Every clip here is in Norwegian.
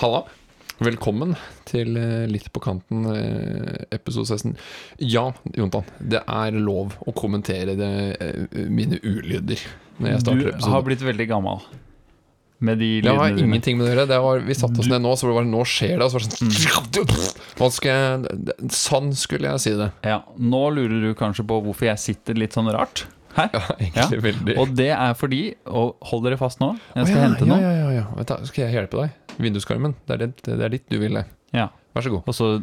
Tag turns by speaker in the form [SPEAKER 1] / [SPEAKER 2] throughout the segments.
[SPEAKER 1] Halla. Velkommen til eh, Litt på kanten, eh, episode 16. Ja, Jontan, det er lov å kommentere det, eh, mine ulyder når jeg starter
[SPEAKER 2] Du har
[SPEAKER 1] episoden.
[SPEAKER 2] blitt veldig gammel med de
[SPEAKER 1] Det har
[SPEAKER 2] lydene dine.
[SPEAKER 1] ingenting med det å gjøre. Det var, vi satte oss ned nå, så var det nå skjer det. Og så var
[SPEAKER 2] Mm.
[SPEAKER 1] det sånn Hva skal jeg Sånn skulle jeg si det.
[SPEAKER 2] Ja, nå lurer du kanskje på hvorfor jeg sitter litt sånn rart her.
[SPEAKER 1] Ja, egentlig veldig.
[SPEAKER 2] Og det er fordi Og hold dere fast nå, jeg
[SPEAKER 1] Å,
[SPEAKER 2] skal
[SPEAKER 1] ja,
[SPEAKER 2] hente
[SPEAKER 1] ja,
[SPEAKER 2] noe.
[SPEAKER 1] Ja, ja, ja. Vent da, skal jeg hjelpe deg? Vinduskarmen. Det er, det, det er ditt du ville.
[SPEAKER 2] Ja,
[SPEAKER 1] Vær så god.
[SPEAKER 2] Og så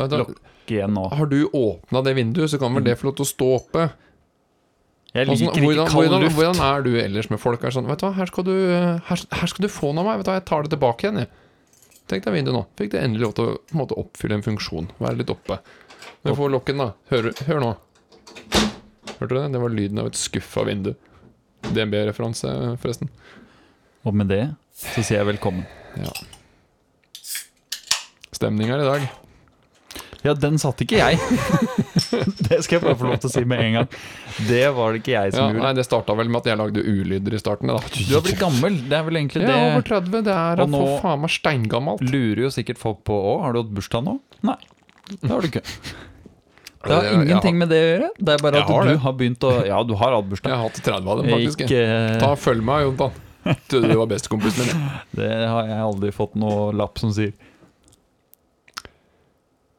[SPEAKER 1] Vent da,
[SPEAKER 2] Lukk. Mm. igjen nå.
[SPEAKER 1] Har du åpna det vinduet, så kan vel det få lov til å stå oppe?
[SPEAKER 2] Jeg
[SPEAKER 1] Hvordan,
[SPEAKER 2] liker ikke
[SPEAKER 1] Altså, hvordan,
[SPEAKER 2] kald
[SPEAKER 1] hvordan,
[SPEAKER 2] luft.
[SPEAKER 1] hvordan er du ellers med folk? Er det sånn, vet du hva, her skal du, her, her skal du få noe av meg. Vet du hva, jeg tar det tilbake igjen. Jeg. Tenk deg vinduet nå. Fikk det endelig lov til å på en måte, oppfylle en funksjon. Være litt oppe. Men få lokken, da. Hør, hør nå. Hørte du det? Det var lyden av et skuffa vindu. DNB-referanse, forresten.
[SPEAKER 2] Og med det så sier jeg velkommen.
[SPEAKER 1] Ja. Stemning her i dag.
[SPEAKER 2] Ja, den satt ikke jeg. det skal jeg bare få lov til å si med en gang. Det var det ikke jeg
[SPEAKER 1] Ja,
[SPEAKER 2] som
[SPEAKER 1] nei,
[SPEAKER 2] gjorde.
[SPEAKER 1] det starta vel med at jeg lagde ulyder i starten. Da.
[SPEAKER 2] Du har blitt gammel. Det er vel egentlig
[SPEAKER 1] Jeg er over
[SPEAKER 2] det
[SPEAKER 1] 30. Det er
[SPEAKER 2] Og
[SPEAKER 1] da for
[SPEAKER 2] nå-
[SPEAKER 1] faen meg steingammalt.
[SPEAKER 2] lurer jo sikkert folk på òg. Har du hatt bursdag nå? Nei. Det har du ikke. Det har
[SPEAKER 1] Jeg-
[SPEAKER 2] ingenting med det å gjøre. Det er bare
[SPEAKER 1] Jeg
[SPEAKER 2] at
[SPEAKER 1] har
[SPEAKER 2] du
[SPEAKER 1] det.
[SPEAKER 2] har begynt å Ja, du har hatt
[SPEAKER 1] Jeg
[SPEAKER 2] bursdag. eh,
[SPEAKER 1] har hatt 30 av dem, faktisk.
[SPEAKER 2] Ikke
[SPEAKER 1] Ta og Følg meg, Jontan. Du, du var bestekompisen min.
[SPEAKER 2] Det har jeg aldri fått noe lapp som sier.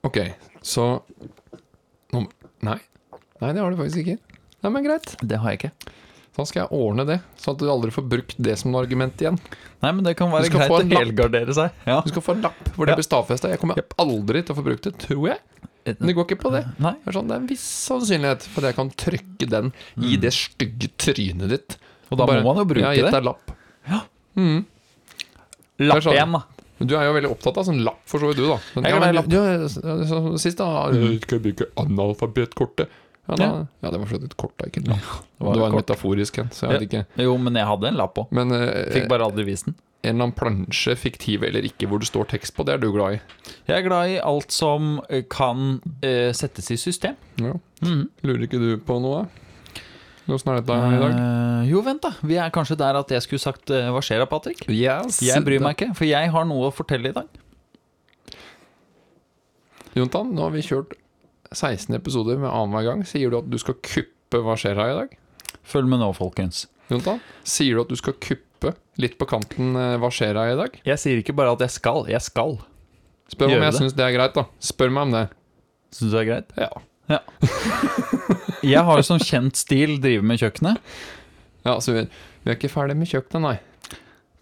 [SPEAKER 1] Ok, så nå, Nei. Nei, det har du faktisk ikke. Nei, men greit.
[SPEAKER 2] Det har jeg ikke.
[SPEAKER 1] Da skal jeg ordne det, sånn at du aldri får brukt det som noe argument igjen.
[SPEAKER 2] Nei, men det kan være
[SPEAKER 1] Du skal
[SPEAKER 2] greit
[SPEAKER 1] få
[SPEAKER 2] å
[SPEAKER 1] en lapp.
[SPEAKER 2] helgardere seg. Ja.
[SPEAKER 1] Du skal få en lapp hvor
[SPEAKER 2] Ja.
[SPEAKER 1] det blir stadfesta. Jeg kommer aldri til å få brukt det, tror jeg. Men det går ikke på det.
[SPEAKER 2] Nei.
[SPEAKER 1] Det er, sånn, det er en viss sannsynlighet for at jeg kan trykke den i det stygge trynet ditt.
[SPEAKER 2] Mm. Og da
[SPEAKER 1] Bare,
[SPEAKER 2] må man jo bruke
[SPEAKER 1] Jeg har gitt
[SPEAKER 2] det.
[SPEAKER 1] deg lapp.
[SPEAKER 2] Lapp
[SPEAKER 1] Det er sånn.
[SPEAKER 2] igjen, da.
[SPEAKER 1] Men Du er jo veldig opptatt av sånn lapp, for så vidt du, da. Men,
[SPEAKER 2] Jeg
[SPEAKER 1] ja,
[SPEAKER 2] kan
[SPEAKER 1] men,
[SPEAKER 2] være lapp.
[SPEAKER 1] ja, ja, ja, så- sist, da. «Jeg Skal jeg bruke analfabetkortet? Ja, da,
[SPEAKER 2] Ja.
[SPEAKER 1] ja, det var slett et kort, da, ikke et lapp.
[SPEAKER 2] det var
[SPEAKER 1] Det var
[SPEAKER 2] et
[SPEAKER 1] en
[SPEAKER 2] kort.
[SPEAKER 1] metaforisk en, så jeg vet ikke.
[SPEAKER 2] Jo, men jeg hadde en lapp òg.
[SPEAKER 1] Men eh,
[SPEAKER 2] Fikk bare aldri vist den.
[SPEAKER 1] en eller annen plansje, fiktiv eller ikke, hvor det står tekst på, det er du glad i.
[SPEAKER 2] Jeg er glad i alt som eh, kan eh, settes i system.
[SPEAKER 1] Ja.
[SPEAKER 2] Mhm.
[SPEAKER 1] Lurer ikke du på noe? Åssen er dette her Mm. i dag?
[SPEAKER 2] Eh, jo, vent, da. Vi er kanskje der at jeg skulle sagt eh, 'hva skjer da, Patrick'?
[SPEAKER 1] Yes.
[SPEAKER 2] Jeg bryr meg ikke, for jeg har noe å fortelle i dag.
[SPEAKER 1] Jontan, nå har vi kjørt 16 episoder med annenhver gang. Sier du at du skal kuppe Hva skjer her i dag?
[SPEAKER 2] Følg med nå, folkens.
[SPEAKER 1] Jontan, sier du at du skal kuppe litt på kanten eh, Hva skjer her i dag?
[SPEAKER 2] Jeg sier ikke bare at jeg skal, jeg skal.
[SPEAKER 1] Spør meg om
[SPEAKER 2] Gjør
[SPEAKER 1] jeg
[SPEAKER 2] det.
[SPEAKER 1] syns det er greit, da. Spør meg om det.
[SPEAKER 2] Syns du det er greit?
[SPEAKER 1] Ja.
[SPEAKER 2] Jeg har jo som kjent stil drive med kjøkkenet.
[SPEAKER 1] ja altså, vi, vi er ikke ferdig med kjøkkenet, nei.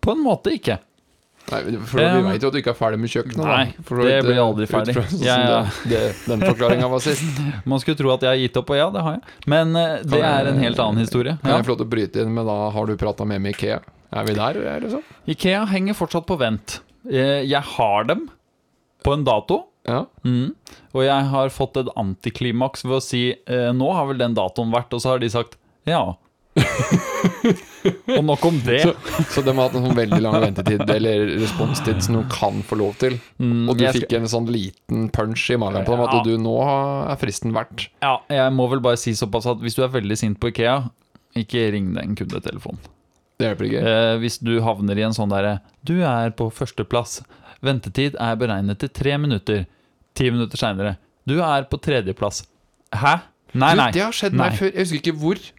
[SPEAKER 2] På en måte ikke.
[SPEAKER 1] nei for
[SPEAKER 2] Um,
[SPEAKER 1] vi veit jo at du ikke er ferdig med kjøkkenet. da.
[SPEAKER 2] nei,
[SPEAKER 1] For så
[SPEAKER 2] det
[SPEAKER 1] vidt,
[SPEAKER 2] blir
[SPEAKER 1] eh,
[SPEAKER 2] aldri
[SPEAKER 1] ut fra
[SPEAKER 2] ferdig.
[SPEAKER 1] sånn som
[SPEAKER 2] Jeg-
[SPEAKER 1] det- det- Den forklaringa var sist.
[SPEAKER 2] Man skulle tro at jeg har gitt opp, og ja, det har jeg. Men eh, det
[SPEAKER 1] Kan jeg-
[SPEAKER 2] er en helt annen historie.
[SPEAKER 1] Kan jeg
[SPEAKER 2] Ja.
[SPEAKER 1] få lov til å bryte inn med da har du prata med med Ikea? Er vi der, eller så?
[SPEAKER 2] Ikea henger fortsatt på vent. Eh, Jeg har dem på en dato.
[SPEAKER 1] Ja.
[SPEAKER 2] Mm. Og jeg har fått et antiklimaks ved å si eh, Nå har vel den datoen vært, og så har de sagt ja. og nok om det.
[SPEAKER 1] Så, så de har hatt en sånn veldig lang ventetid, eller responstid, som de kan få lov til.
[SPEAKER 2] Mm,
[SPEAKER 1] Og du
[SPEAKER 2] jeg skal-
[SPEAKER 1] fikk en sånn liten punch i magen på dem
[SPEAKER 2] Ja.
[SPEAKER 1] at du nå har- er fristen verdt.
[SPEAKER 2] Ja, jeg må vel bare si såpass at hvis du er veldig sint på Ikea, ikke ring den kundetelefonen.
[SPEAKER 1] Det hjelper ikke.
[SPEAKER 2] Eh, hvis du havner i en sånn derre Du er på førsteplass. Ventetid er beregnet til tre minutter. Ti minutter seinere. Du er på tredjeplass. Hæ? Eh, Nei,
[SPEAKER 1] Du,
[SPEAKER 2] nei.
[SPEAKER 1] Det har skjedd meg
[SPEAKER 2] Nei.
[SPEAKER 1] før. Jeg husker ikke hvor.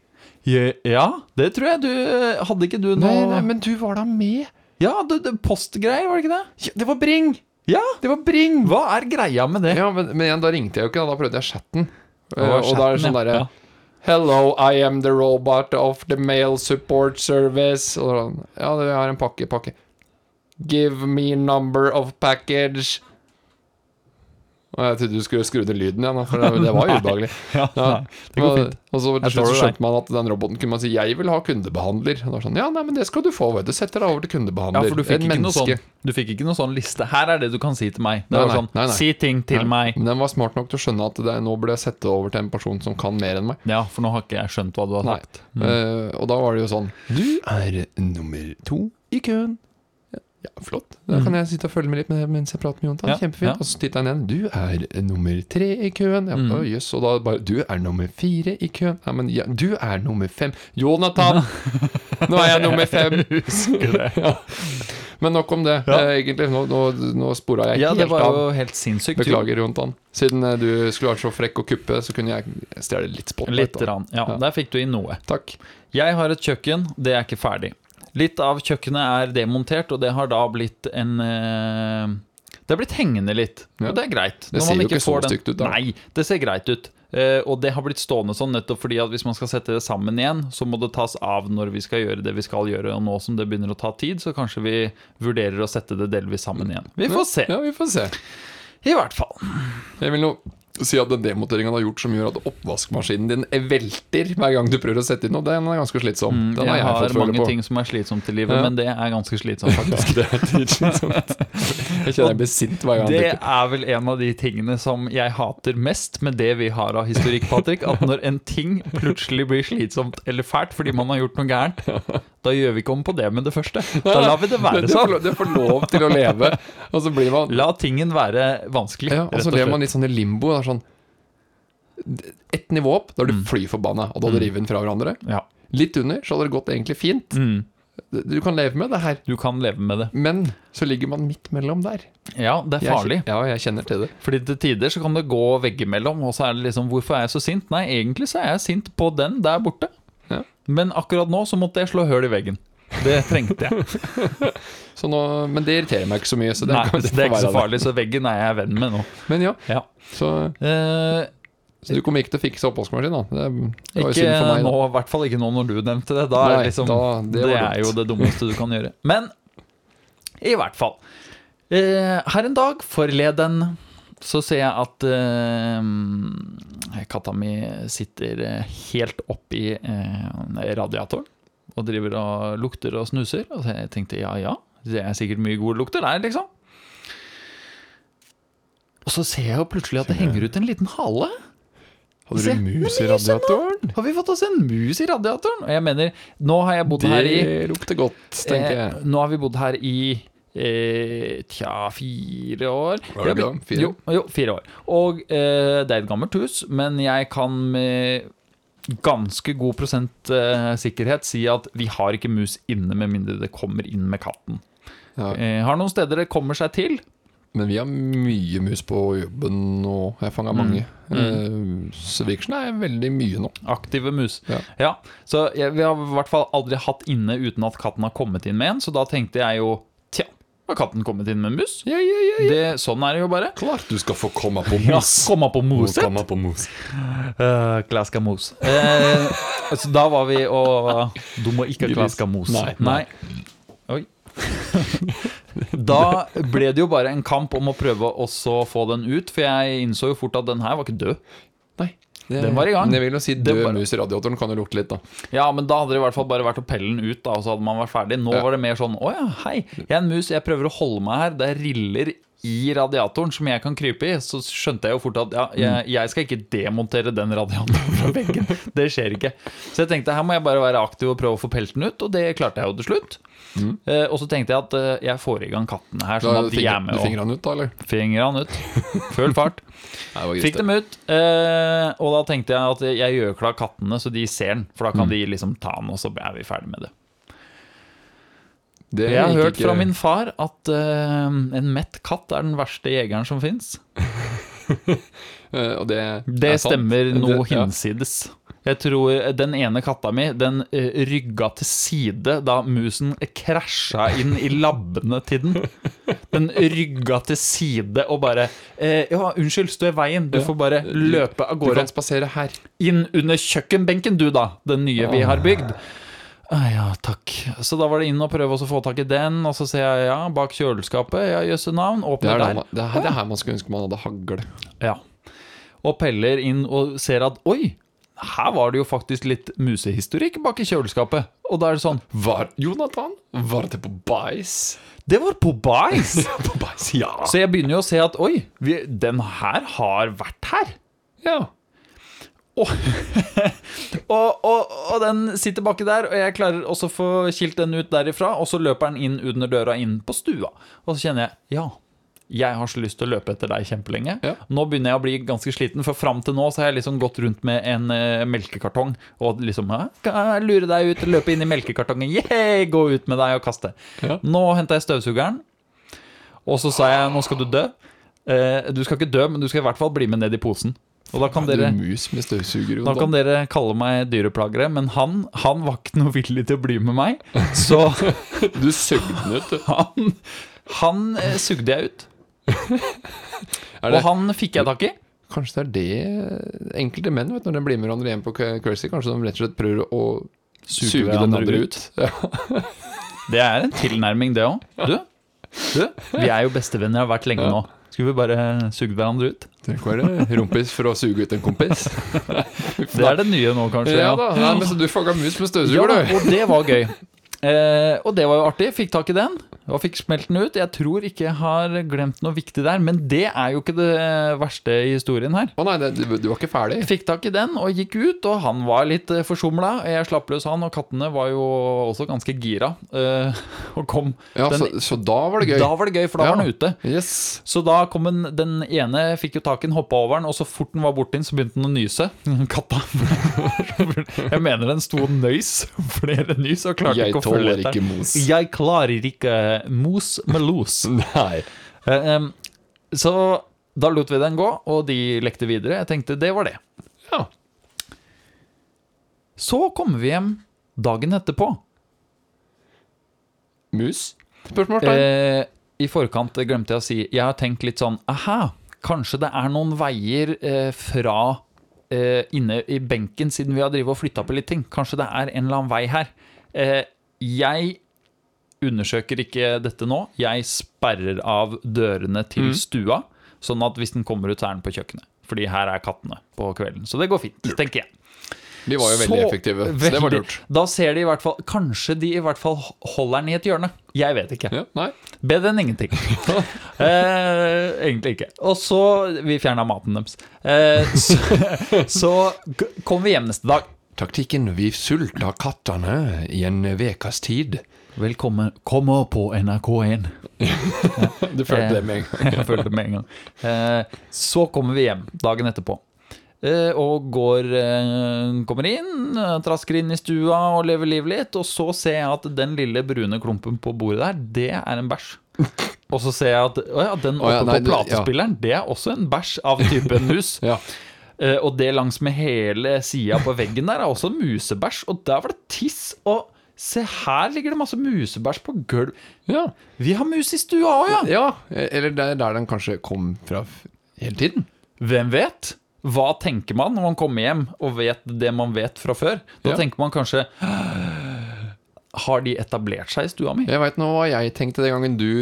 [SPEAKER 2] Je- Ja, det tror jeg du eh, Hadde ikke du noe
[SPEAKER 1] Nei, nei, men du var da med.
[SPEAKER 2] Ja, du- du- postgreier, var det ikke det?
[SPEAKER 1] Ja, det var Bring!
[SPEAKER 2] Ja,
[SPEAKER 1] Det var Bring!
[SPEAKER 2] hva er greia med det?
[SPEAKER 1] Ja, men, men igjen, da ringte jeg jo ikke, da, da prøvde jeg chatten. Eh,
[SPEAKER 2] Å,
[SPEAKER 1] og da er det
[SPEAKER 2] chatten,
[SPEAKER 1] sånn
[SPEAKER 2] ja.
[SPEAKER 1] derre
[SPEAKER 2] Ja.
[SPEAKER 1] Hello, I am the robot of the mail support service. Og sånn, ja, det- jeg har en pakke, pakke. Give me number of package. Og jeg trodde du skulle skru ned lyden igjen, da, for det, det var jo
[SPEAKER 2] Nei.
[SPEAKER 1] ubehagelig.
[SPEAKER 2] Ja,
[SPEAKER 1] Ja,
[SPEAKER 2] nei, det går
[SPEAKER 1] og,
[SPEAKER 2] fint.
[SPEAKER 1] og så til
[SPEAKER 2] Jeg
[SPEAKER 1] slutt så
[SPEAKER 2] forstår deg.
[SPEAKER 1] skjønte man at den roboten kunne man si 'jeg vil ha kundebehandler'. Og da er det sånn, ja, nei, men det skal du få, vet du. Setter deg over til
[SPEAKER 2] Ja,
[SPEAKER 1] kundebehandler.
[SPEAKER 2] for du fikk,
[SPEAKER 1] En
[SPEAKER 2] ikke noe sånn,
[SPEAKER 1] menneske.
[SPEAKER 2] du fikk ikke noe sånn liste. Her er det du kan si til meg. Det
[SPEAKER 1] Nei,
[SPEAKER 2] var
[SPEAKER 1] nei,
[SPEAKER 2] sånn,
[SPEAKER 1] nei, nei.
[SPEAKER 2] Si ting til
[SPEAKER 1] Nei,
[SPEAKER 2] meg.
[SPEAKER 1] Men den var smart nok til å skjønne at det, nå burde jeg sette over til en person som kan mer enn meg.
[SPEAKER 2] Ja, for nå har ikke jeg skjønt hva du har
[SPEAKER 1] Nei.
[SPEAKER 2] sagt.
[SPEAKER 1] Eh, og da var det jo sånn Du er nummer to i køen. Mm. Ja, flott. Da kan jeg sitte og følge med litt med, mens jeg prater med Jontan.
[SPEAKER 2] Ja,
[SPEAKER 1] Kjempefint.
[SPEAKER 2] ja. Mm.
[SPEAKER 1] Og så titter han igjen. Du er nummer tre i køen. Ja, å, jøss. Og da bare Du er nummer fire i køen. Ja, men ja, du er nummer fem. Jonathan! Nå er jeg nummer fem!
[SPEAKER 2] Husker det.
[SPEAKER 1] Ja. Men nok om det,
[SPEAKER 2] Ja.
[SPEAKER 1] eh, egentlig. Nå, nå, nå spora jeg
[SPEAKER 2] Ja, det
[SPEAKER 1] helt
[SPEAKER 2] var
[SPEAKER 1] av.
[SPEAKER 2] jo helt sinnssykt.
[SPEAKER 1] Beklager, Jontan. Siden eh, du skulle vært så frekk å kuppe, så kunne jeg stjele litt spotlight.
[SPEAKER 2] Litt.
[SPEAKER 1] da.
[SPEAKER 2] Rann. Ja,
[SPEAKER 1] Ja.
[SPEAKER 2] der fikk du inn noe.
[SPEAKER 1] Takk.
[SPEAKER 2] Jeg har et kjøkken, det er ikke ferdig. Litt av kjøkkenet er demontert, og det har da blitt en eh, Det har blitt hengende litt,
[SPEAKER 1] Ja.
[SPEAKER 2] og det er greit.
[SPEAKER 1] Det
[SPEAKER 2] Når
[SPEAKER 1] ser
[SPEAKER 2] man
[SPEAKER 1] jo ikke så
[SPEAKER 2] får den-
[SPEAKER 1] stygt ut da.
[SPEAKER 2] Nei, det ser greit ut. Eh, og det har blitt stående sånn nettopp fordi at hvis man skal sette det sammen igjen, så må det tas av når vi skal gjøre det vi skal gjøre. Og nå som det begynner å ta tid, så kanskje vi vurderer å sette det delvis sammen igjen. Vi får se.
[SPEAKER 1] Ja, vi får se.
[SPEAKER 2] I hvert fall.
[SPEAKER 1] Jeg vil nå si at den demonteringen du har gjort som gjør at oppvaskmaskinen din velter hver gang du prøver å sette inn noe, den er ganske slitsom. Den
[SPEAKER 2] Mm, jeg,
[SPEAKER 1] har jeg,
[SPEAKER 2] har
[SPEAKER 1] fått føle
[SPEAKER 2] mange
[SPEAKER 1] på.
[SPEAKER 2] ting som er slitsomt i livet,
[SPEAKER 1] Ja.
[SPEAKER 2] men det er ganske slitsomt, faktisk.
[SPEAKER 1] det er slitsomt. Jeg kjenner jeg blir sint hver gang
[SPEAKER 2] Det
[SPEAKER 1] jeg
[SPEAKER 2] er vel en av de tingene som jeg hater mest med det vi har av historikk, Patrick. At når en ting plutselig blir slitsomt eller fælt fordi man har gjort noe gærent, da gjør vi ikke om på det med det første. Da lar vi det være
[SPEAKER 1] Det får
[SPEAKER 2] sånn.
[SPEAKER 1] lov- det får lov til å leve, og så blir man
[SPEAKER 2] La tingen være vanskelig,
[SPEAKER 1] ja, Og
[SPEAKER 2] rett
[SPEAKER 1] så
[SPEAKER 2] og
[SPEAKER 1] lever
[SPEAKER 2] slett.
[SPEAKER 1] man litt sånn i limbo. Det er sånn Ett nivå opp, da er
[SPEAKER 2] Mm.
[SPEAKER 1] du fly forbanna, og da hadde revet den fra hverandre.
[SPEAKER 2] Ja.
[SPEAKER 1] Litt under, så hadde det gått egentlig fint.
[SPEAKER 2] Mm,
[SPEAKER 1] Du kan leve med det her.
[SPEAKER 2] du kan leve med det.
[SPEAKER 1] Men så ligger man midt mellom der.
[SPEAKER 2] Ja, det er
[SPEAKER 1] Jeg-
[SPEAKER 2] farlig.
[SPEAKER 1] Ja, jeg kjenner til det.
[SPEAKER 2] Fordi til tider så kan det gå veggimellom, og så er det liksom Hvorfor er jeg så sint? Nei, egentlig så er jeg sint på den der borte.
[SPEAKER 1] Ja.
[SPEAKER 2] Men akkurat nå så måtte jeg slå høl i veggen. Det trengte jeg.
[SPEAKER 1] Så nå, men det irriterer meg ikke så mye. Så det,
[SPEAKER 2] Nei,
[SPEAKER 1] kan,
[SPEAKER 2] det er
[SPEAKER 1] får
[SPEAKER 2] ikke så
[SPEAKER 1] være
[SPEAKER 2] farlig, så veggen er jeg venn med nå.
[SPEAKER 1] det. Men ja,
[SPEAKER 2] Ja.
[SPEAKER 1] så,
[SPEAKER 2] Eh,
[SPEAKER 1] så du kommer ikke til å fikse oppvaskmaskinen, da? Det, er- det var jo
[SPEAKER 2] ikke
[SPEAKER 1] synd for meg.
[SPEAKER 2] nå,
[SPEAKER 1] Da.
[SPEAKER 2] i hvert fall ikke nå når du nevnte det. Da er
[SPEAKER 1] Nei,
[SPEAKER 2] det liksom,
[SPEAKER 1] da- det
[SPEAKER 2] det,
[SPEAKER 1] var
[SPEAKER 2] er
[SPEAKER 1] dumt.
[SPEAKER 2] jo det dummeste du kan gjøre. Men i hvert fall. Eh, her en dag forleden så ser jeg at eh, katta mi sitter eh, helt oppi eh, radiatoren og driver og lukter og snuser. Og jeg tenkte ja, ja, det er sikkert mye gode lukter der, liksom. Og så ser jeg jo plutselig at det henger ut en liten hale.
[SPEAKER 1] Hadde
[SPEAKER 2] Se,
[SPEAKER 1] du mus i
[SPEAKER 2] men det er jo sånn da.
[SPEAKER 1] radiatoren?
[SPEAKER 2] Har vi fått oss en mus i radiatoren? Og jeg mener, nå har jeg bodd her i
[SPEAKER 1] Det lukter godt, tenker
[SPEAKER 2] eh,
[SPEAKER 1] jeg.
[SPEAKER 2] Nå har vi bodd her i eh, tja, fire år.
[SPEAKER 1] Var det
[SPEAKER 2] Jeg
[SPEAKER 1] bra? Fire?
[SPEAKER 2] Jo, jo, fire år. Og eh, det er et gammelt hus, men jeg kan med ganske god prosent eh, sikkerhet si at vi har ikke mus inne med mindre det kommer inn med katten.
[SPEAKER 1] Ja.
[SPEAKER 2] Eh, har noen steder det kommer seg til.
[SPEAKER 1] Men vi har mye mus på jobben nå. Jeg fanga mange. Mm. Svigersen er veldig mye nå.
[SPEAKER 2] Aktive mus.
[SPEAKER 1] Ja.
[SPEAKER 2] Ja. Så jeg, vi har i hvert fall aldri hatt inne uten at katten har kommet inn med en, så da tenkte jeg jo Tja, har katten kommet inn med en mus?
[SPEAKER 1] Ja, ja, ja.
[SPEAKER 2] Det, sånn er det jo bare.
[SPEAKER 1] Klart du skal få komme på
[SPEAKER 2] Ja,
[SPEAKER 1] mus.
[SPEAKER 2] komme på moset.
[SPEAKER 1] Komme på mus.
[SPEAKER 2] Uh, klaska mos. Eh, så da var vi og Du må ikke
[SPEAKER 1] Gris.
[SPEAKER 2] klaska mos.
[SPEAKER 1] Nei,
[SPEAKER 2] Nei. Oi. da ble det jo bare en kamp om å prøve også å få den ut, for jeg innså jo fort at den her var ikke død.
[SPEAKER 1] Nei. Det,
[SPEAKER 2] Den var i gang.
[SPEAKER 1] Men jeg vil jo si
[SPEAKER 2] Den
[SPEAKER 1] død
[SPEAKER 2] var-
[SPEAKER 1] mus i radiatoren kan jo lukte litt, da.
[SPEAKER 2] Ja, men da hadde det i hvert fall bare vært å pelle den ut, da, og så hadde man vært ferdig. Nå
[SPEAKER 1] Ja.
[SPEAKER 2] var det mer sånn Å ja, hei, jeg er en mus, jeg prøver å holde meg her. Det er riller i radiatoren som jeg kan krype i. Så skjønte jeg jo fort at ja,
[SPEAKER 1] Mm.
[SPEAKER 2] jeg, jeg skal ikke demontere den radiatoren fra veggen. Det skjer ikke. Så jeg tenkte her må jeg bare være aktiv og prøve å få pelt den ut, og det klarte jeg jo til slutt. Eh, og så tenkte jeg at eh, jeg får i gang kattene her,
[SPEAKER 1] Mm.
[SPEAKER 2] sånn
[SPEAKER 1] Da
[SPEAKER 2] at de er
[SPEAKER 1] finger-
[SPEAKER 2] med
[SPEAKER 1] du
[SPEAKER 2] og
[SPEAKER 1] fingrer han ut, da, eller?
[SPEAKER 2] fingrer han ut. Full fart.
[SPEAKER 1] Nei, det var greit,
[SPEAKER 2] Fikk dem ut, eh, og da tenkte jeg at jeg gjør klar kattene, så de ser den. For da
[SPEAKER 1] Mm.
[SPEAKER 2] kan de liksom ta den, og så er vi ferdig med det.
[SPEAKER 1] det. Det
[SPEAKER 2] Jeg har
[SPEAKER 1] gikk
[SPEAKER 2] hørt
[SPEAKER 1] ikke-
[SPEAKER 2] fra min far at eh, en mett katt er den verste jegeren som fins.
[SPEAKER 1] Eh, Og det,
[SPEAKER 2] Det
[SPEAKER 1] er sant.
[SPEAKER 2] stemmer noe
[SPEAKER 1] Det- ja.
[SPEAKER 2] hinsides. Jeg tror den ene katta mi den eh, rygga til side da musen krasja inn i labbene til den. Den rygga til side og bare eh, Ja, unnskyld, stå i veien. Du
[SPEAKER 1] Ja.
[SPEAKER 2] får bare løpe av
[SPEAKER 1] Du
[SPEAKER 2] gårde.
[SPEAKER 1] kan spasere her.
[SPEAKER 2] Inn under kjøkkenbenken, du, da! Den nye vi har bygd. Ah, ja, takk. Så da var det inn og prøve å få tak i den, og så ser jeg ja, bak kjøleskapet, ja, jøsse navn,
[SPEAKER 1] Det
[SPEAKER 2] åpner
[SPEAKER 1] er, det,
[SPEAKER 2] der.
[SPEAKER 1] man- det, er, det er her man skulle ønske man hadde hagle.
[SPEAKER 2] Ja. Og peller inn og ser at oi, her var det jo faktisk litt musehistorikk bak i kjøleskapet. Og da er det sånn
[SPEAKER 1] Var, Jonathan, var det på bæsj?
[SPEAKER 2] Det var på bæsj!
[SPEAKER 1] på bæsj, ja.
[SPEAKER 2] Så jeg begynner jo å se at oi, vi, den her har vært her.
[SPEAKER 1] ja.
[SPEAKER 2] Og, og, og den sitter baki der, og jeg klarer også å få kilt den ut derifra. Og så løper den inn under døra inn på stua. Og så kjenner jeg ja, Jeg har så lyst til å løpe etter deg kjempelenge.
[SPEAKER 1] Ja.
[SPEAKER 2] Nå begynner jeg å bli ganske sliten, for fram til nå så har jeg liksom gått rundt med en eh, melkekartong og liksom «Hæ? Kan jeg lure deg ut, løpe inn i melkekartongen, yeah, gå ut med deg og kaste.
[SPEAKER 1] Ja.
[SPEAKER 2] Nå henta jeg støvsugeren, og så sa jeg nå skal du dø. Eh, Du skal ikke dø, men du skal i hvert fall bli med ned i posen. Og da kan
[SPEAKER 1] Du
[SPEAKER 2] dere
[SPEAKER 1] mus med støvsuger,
[SPEAKER 2] da
[SPEAKER 1] Jon.
[SPEAKER 2] kan dere kalle meg dyreplagere, men han, han var ikke noe villig til å bli med meg. Så
[SPEAKER 1] Du søgnet, du.
[SPEAKER 2] han, han eh, sugde jeg ut.
[SPEAKER 1] Er
[SPEAKER 2] Og
[SPEAKER 1] det,
[SPEAKER 2] han fikk jeg tak i.
[SPEAKER 1] kanskje det er det enkelte menn vet, når de blir med hverandre hjem på Crazy, kanskje de rett og slett prøver å suge, den andre ut. Ja.
[SPEAKER 2] Det er en tilnærming, det òg. Du, du, vi er jo bestevenner og har vært lenge nå. Skulle vi bare sugd hverandre ut?
[SPEAKER 1] Tenk å være rumpis for å suge ut en kompis.
[SPEAKER 2] Det er det nye nå, kanskje.
[SPEAKER 1] Ja da, nei, men så du fanga mus med
[SPEAKER 2] Ja,
[SPEAKER 1] støvsuger,
[SPEAKER 2] da,
[SPEAKER 1] du.
[SPEAKER 2] og det var gøy. Eh, og det var jo artig. Fikk tak i den og fikk smelt den ut. Jeg tror ikke jeg har glemt noe viktig der, men det er jo ikke det verste i historien her.
[SPEAKER 1] Å nei, det, du, du var ikke ferdig.
[SPEAKER 2] Jeg fikk tak i den og gikk ut, og han var litt eh, forsumla. Jeg slapp løs han, og kattene var jo også ganske gira. eh, og kom.
[SPEAKER 1] Ja,
[SPEAKER 2] Den-
[SPEAKER 1] så, så da var det gøy.
[SPEAKER 2] Da var det gøy, for da
[SPEAKER 1] Ja.
[SPEAKER 2] var han ute.
[SPEAKER 1] Yes.
[SPEAKER 2] Så da kom en, den ene, fikk jo tak i den, hoppa over den, og så fort den var borti den, så begynte den å nyse. Katta. Jeg mener den sto og nøys flere nys og klarte
[SPEAKER 1] Jeg
[SPEAKER 2] ikke å følge
[SPEAKER 1] tåler
[SPEAKER 2] etter.
[SPEAKER 1] ikke mos.
[SPEAKER 2] Jeg klarer ikke mos med los.
[SPEAKER 1] Nei.
[SPEAKER 2] Eh, em, Så da lot vi den gå, og de lekte videre. Jeg tenkte det var det.
[SPEAKER 1] Ja.
[SPEAKER 2] Så kommer vi hjem dagen etterpå.
[SPEAKER 1] Mus? Spørsmålstegn.
[SPEAKER 2] Eh, I forkant glemte jeg å si Jeg har tenkt litt sånn Aha, kanskje det er noen veier eh, fra eh, inne i benken Siden vi har drivet og flyttet på litt ting Kanskje det er en eller annen vei her eh, Jeg undersøker ikke dette nå Jeg sperrer av dørene til stua Sånn at hvis den kommer ut så er den på kjøkkenet Fordi her er kattene på kvelden Så det går fint, tenker jeg
[SPEAKER 1] De var jo veldig
[SPEAKER 2] så
[SPEAKER 1] effektive, Eh, så det var
[SPEAKER 2] veldig-
[SPEAKER 1] lurt.
[SPEAKER 2] Da ser de i hvert fall Kanskje de i hvert fall holder den i et hjørne Jeg vet ikke
[SPEAKER 1] Ja, nei.
[SPEAKER 2] Bedre enn ingenting. eh, egentlig ikke. Og så Vi fjerna maten deres. Eh, så, så g- kom vi hjem neste dag.
[SPEAKER 1] Taktikken vi sulta kattene i en vekas tid.
[SPEAKER 2] Velkommen Kommer på NRK1.
[SPEAKER 1] Du
[SPEAKER 2] Eh.
[SPEAKER 1] følte det med en gang.
[SPEAKER 2] Jeg følte det med en gang. Eh, så kommer vi hjem dagen etterpå. Eh, og går eh, Kommer inn, eh, trasker inn i stua og lever livet litt. Og så ser jeg at den lille brune klumpen på bordet der, det er en bæsj. Og så ser jeg at å ja, den
[SPEAKER 1] Å
[SPEAKER 2] oppe
[SPEAKER 1] ja, nei,
[SPEAKER 2] på
[SPEAKER 1] du- ja.
[SPEAKER 2] platespilleren, det er også en bæsj av typen mus.
[SPEAKER 1] Ja.
[SPEAKER 2] Eh, Og det langs med hele sida på veggen der er også musebæsj. Og der var det tiss. Og se her ligger det masse musebæsj på gulv.
[SPEAKER 1] ja.
[SPEAKER 2] Vi har mus i stua òg, ja!
[SPEAKER 1] Ja, eller der, der den kanskje kom fra f- hele tiden.
[SPEAKER 2] Hvem vet? Hva tenker man når man kommer hjem og vet det man vet fra før? Da
[SPEAKER 1] Ja.
[SPEAKER 2] tenker man kanskje Har de etablert seg i stua mi?
[SPEAKER 1] Jeg veit nå hva jeg tenkte den gangen du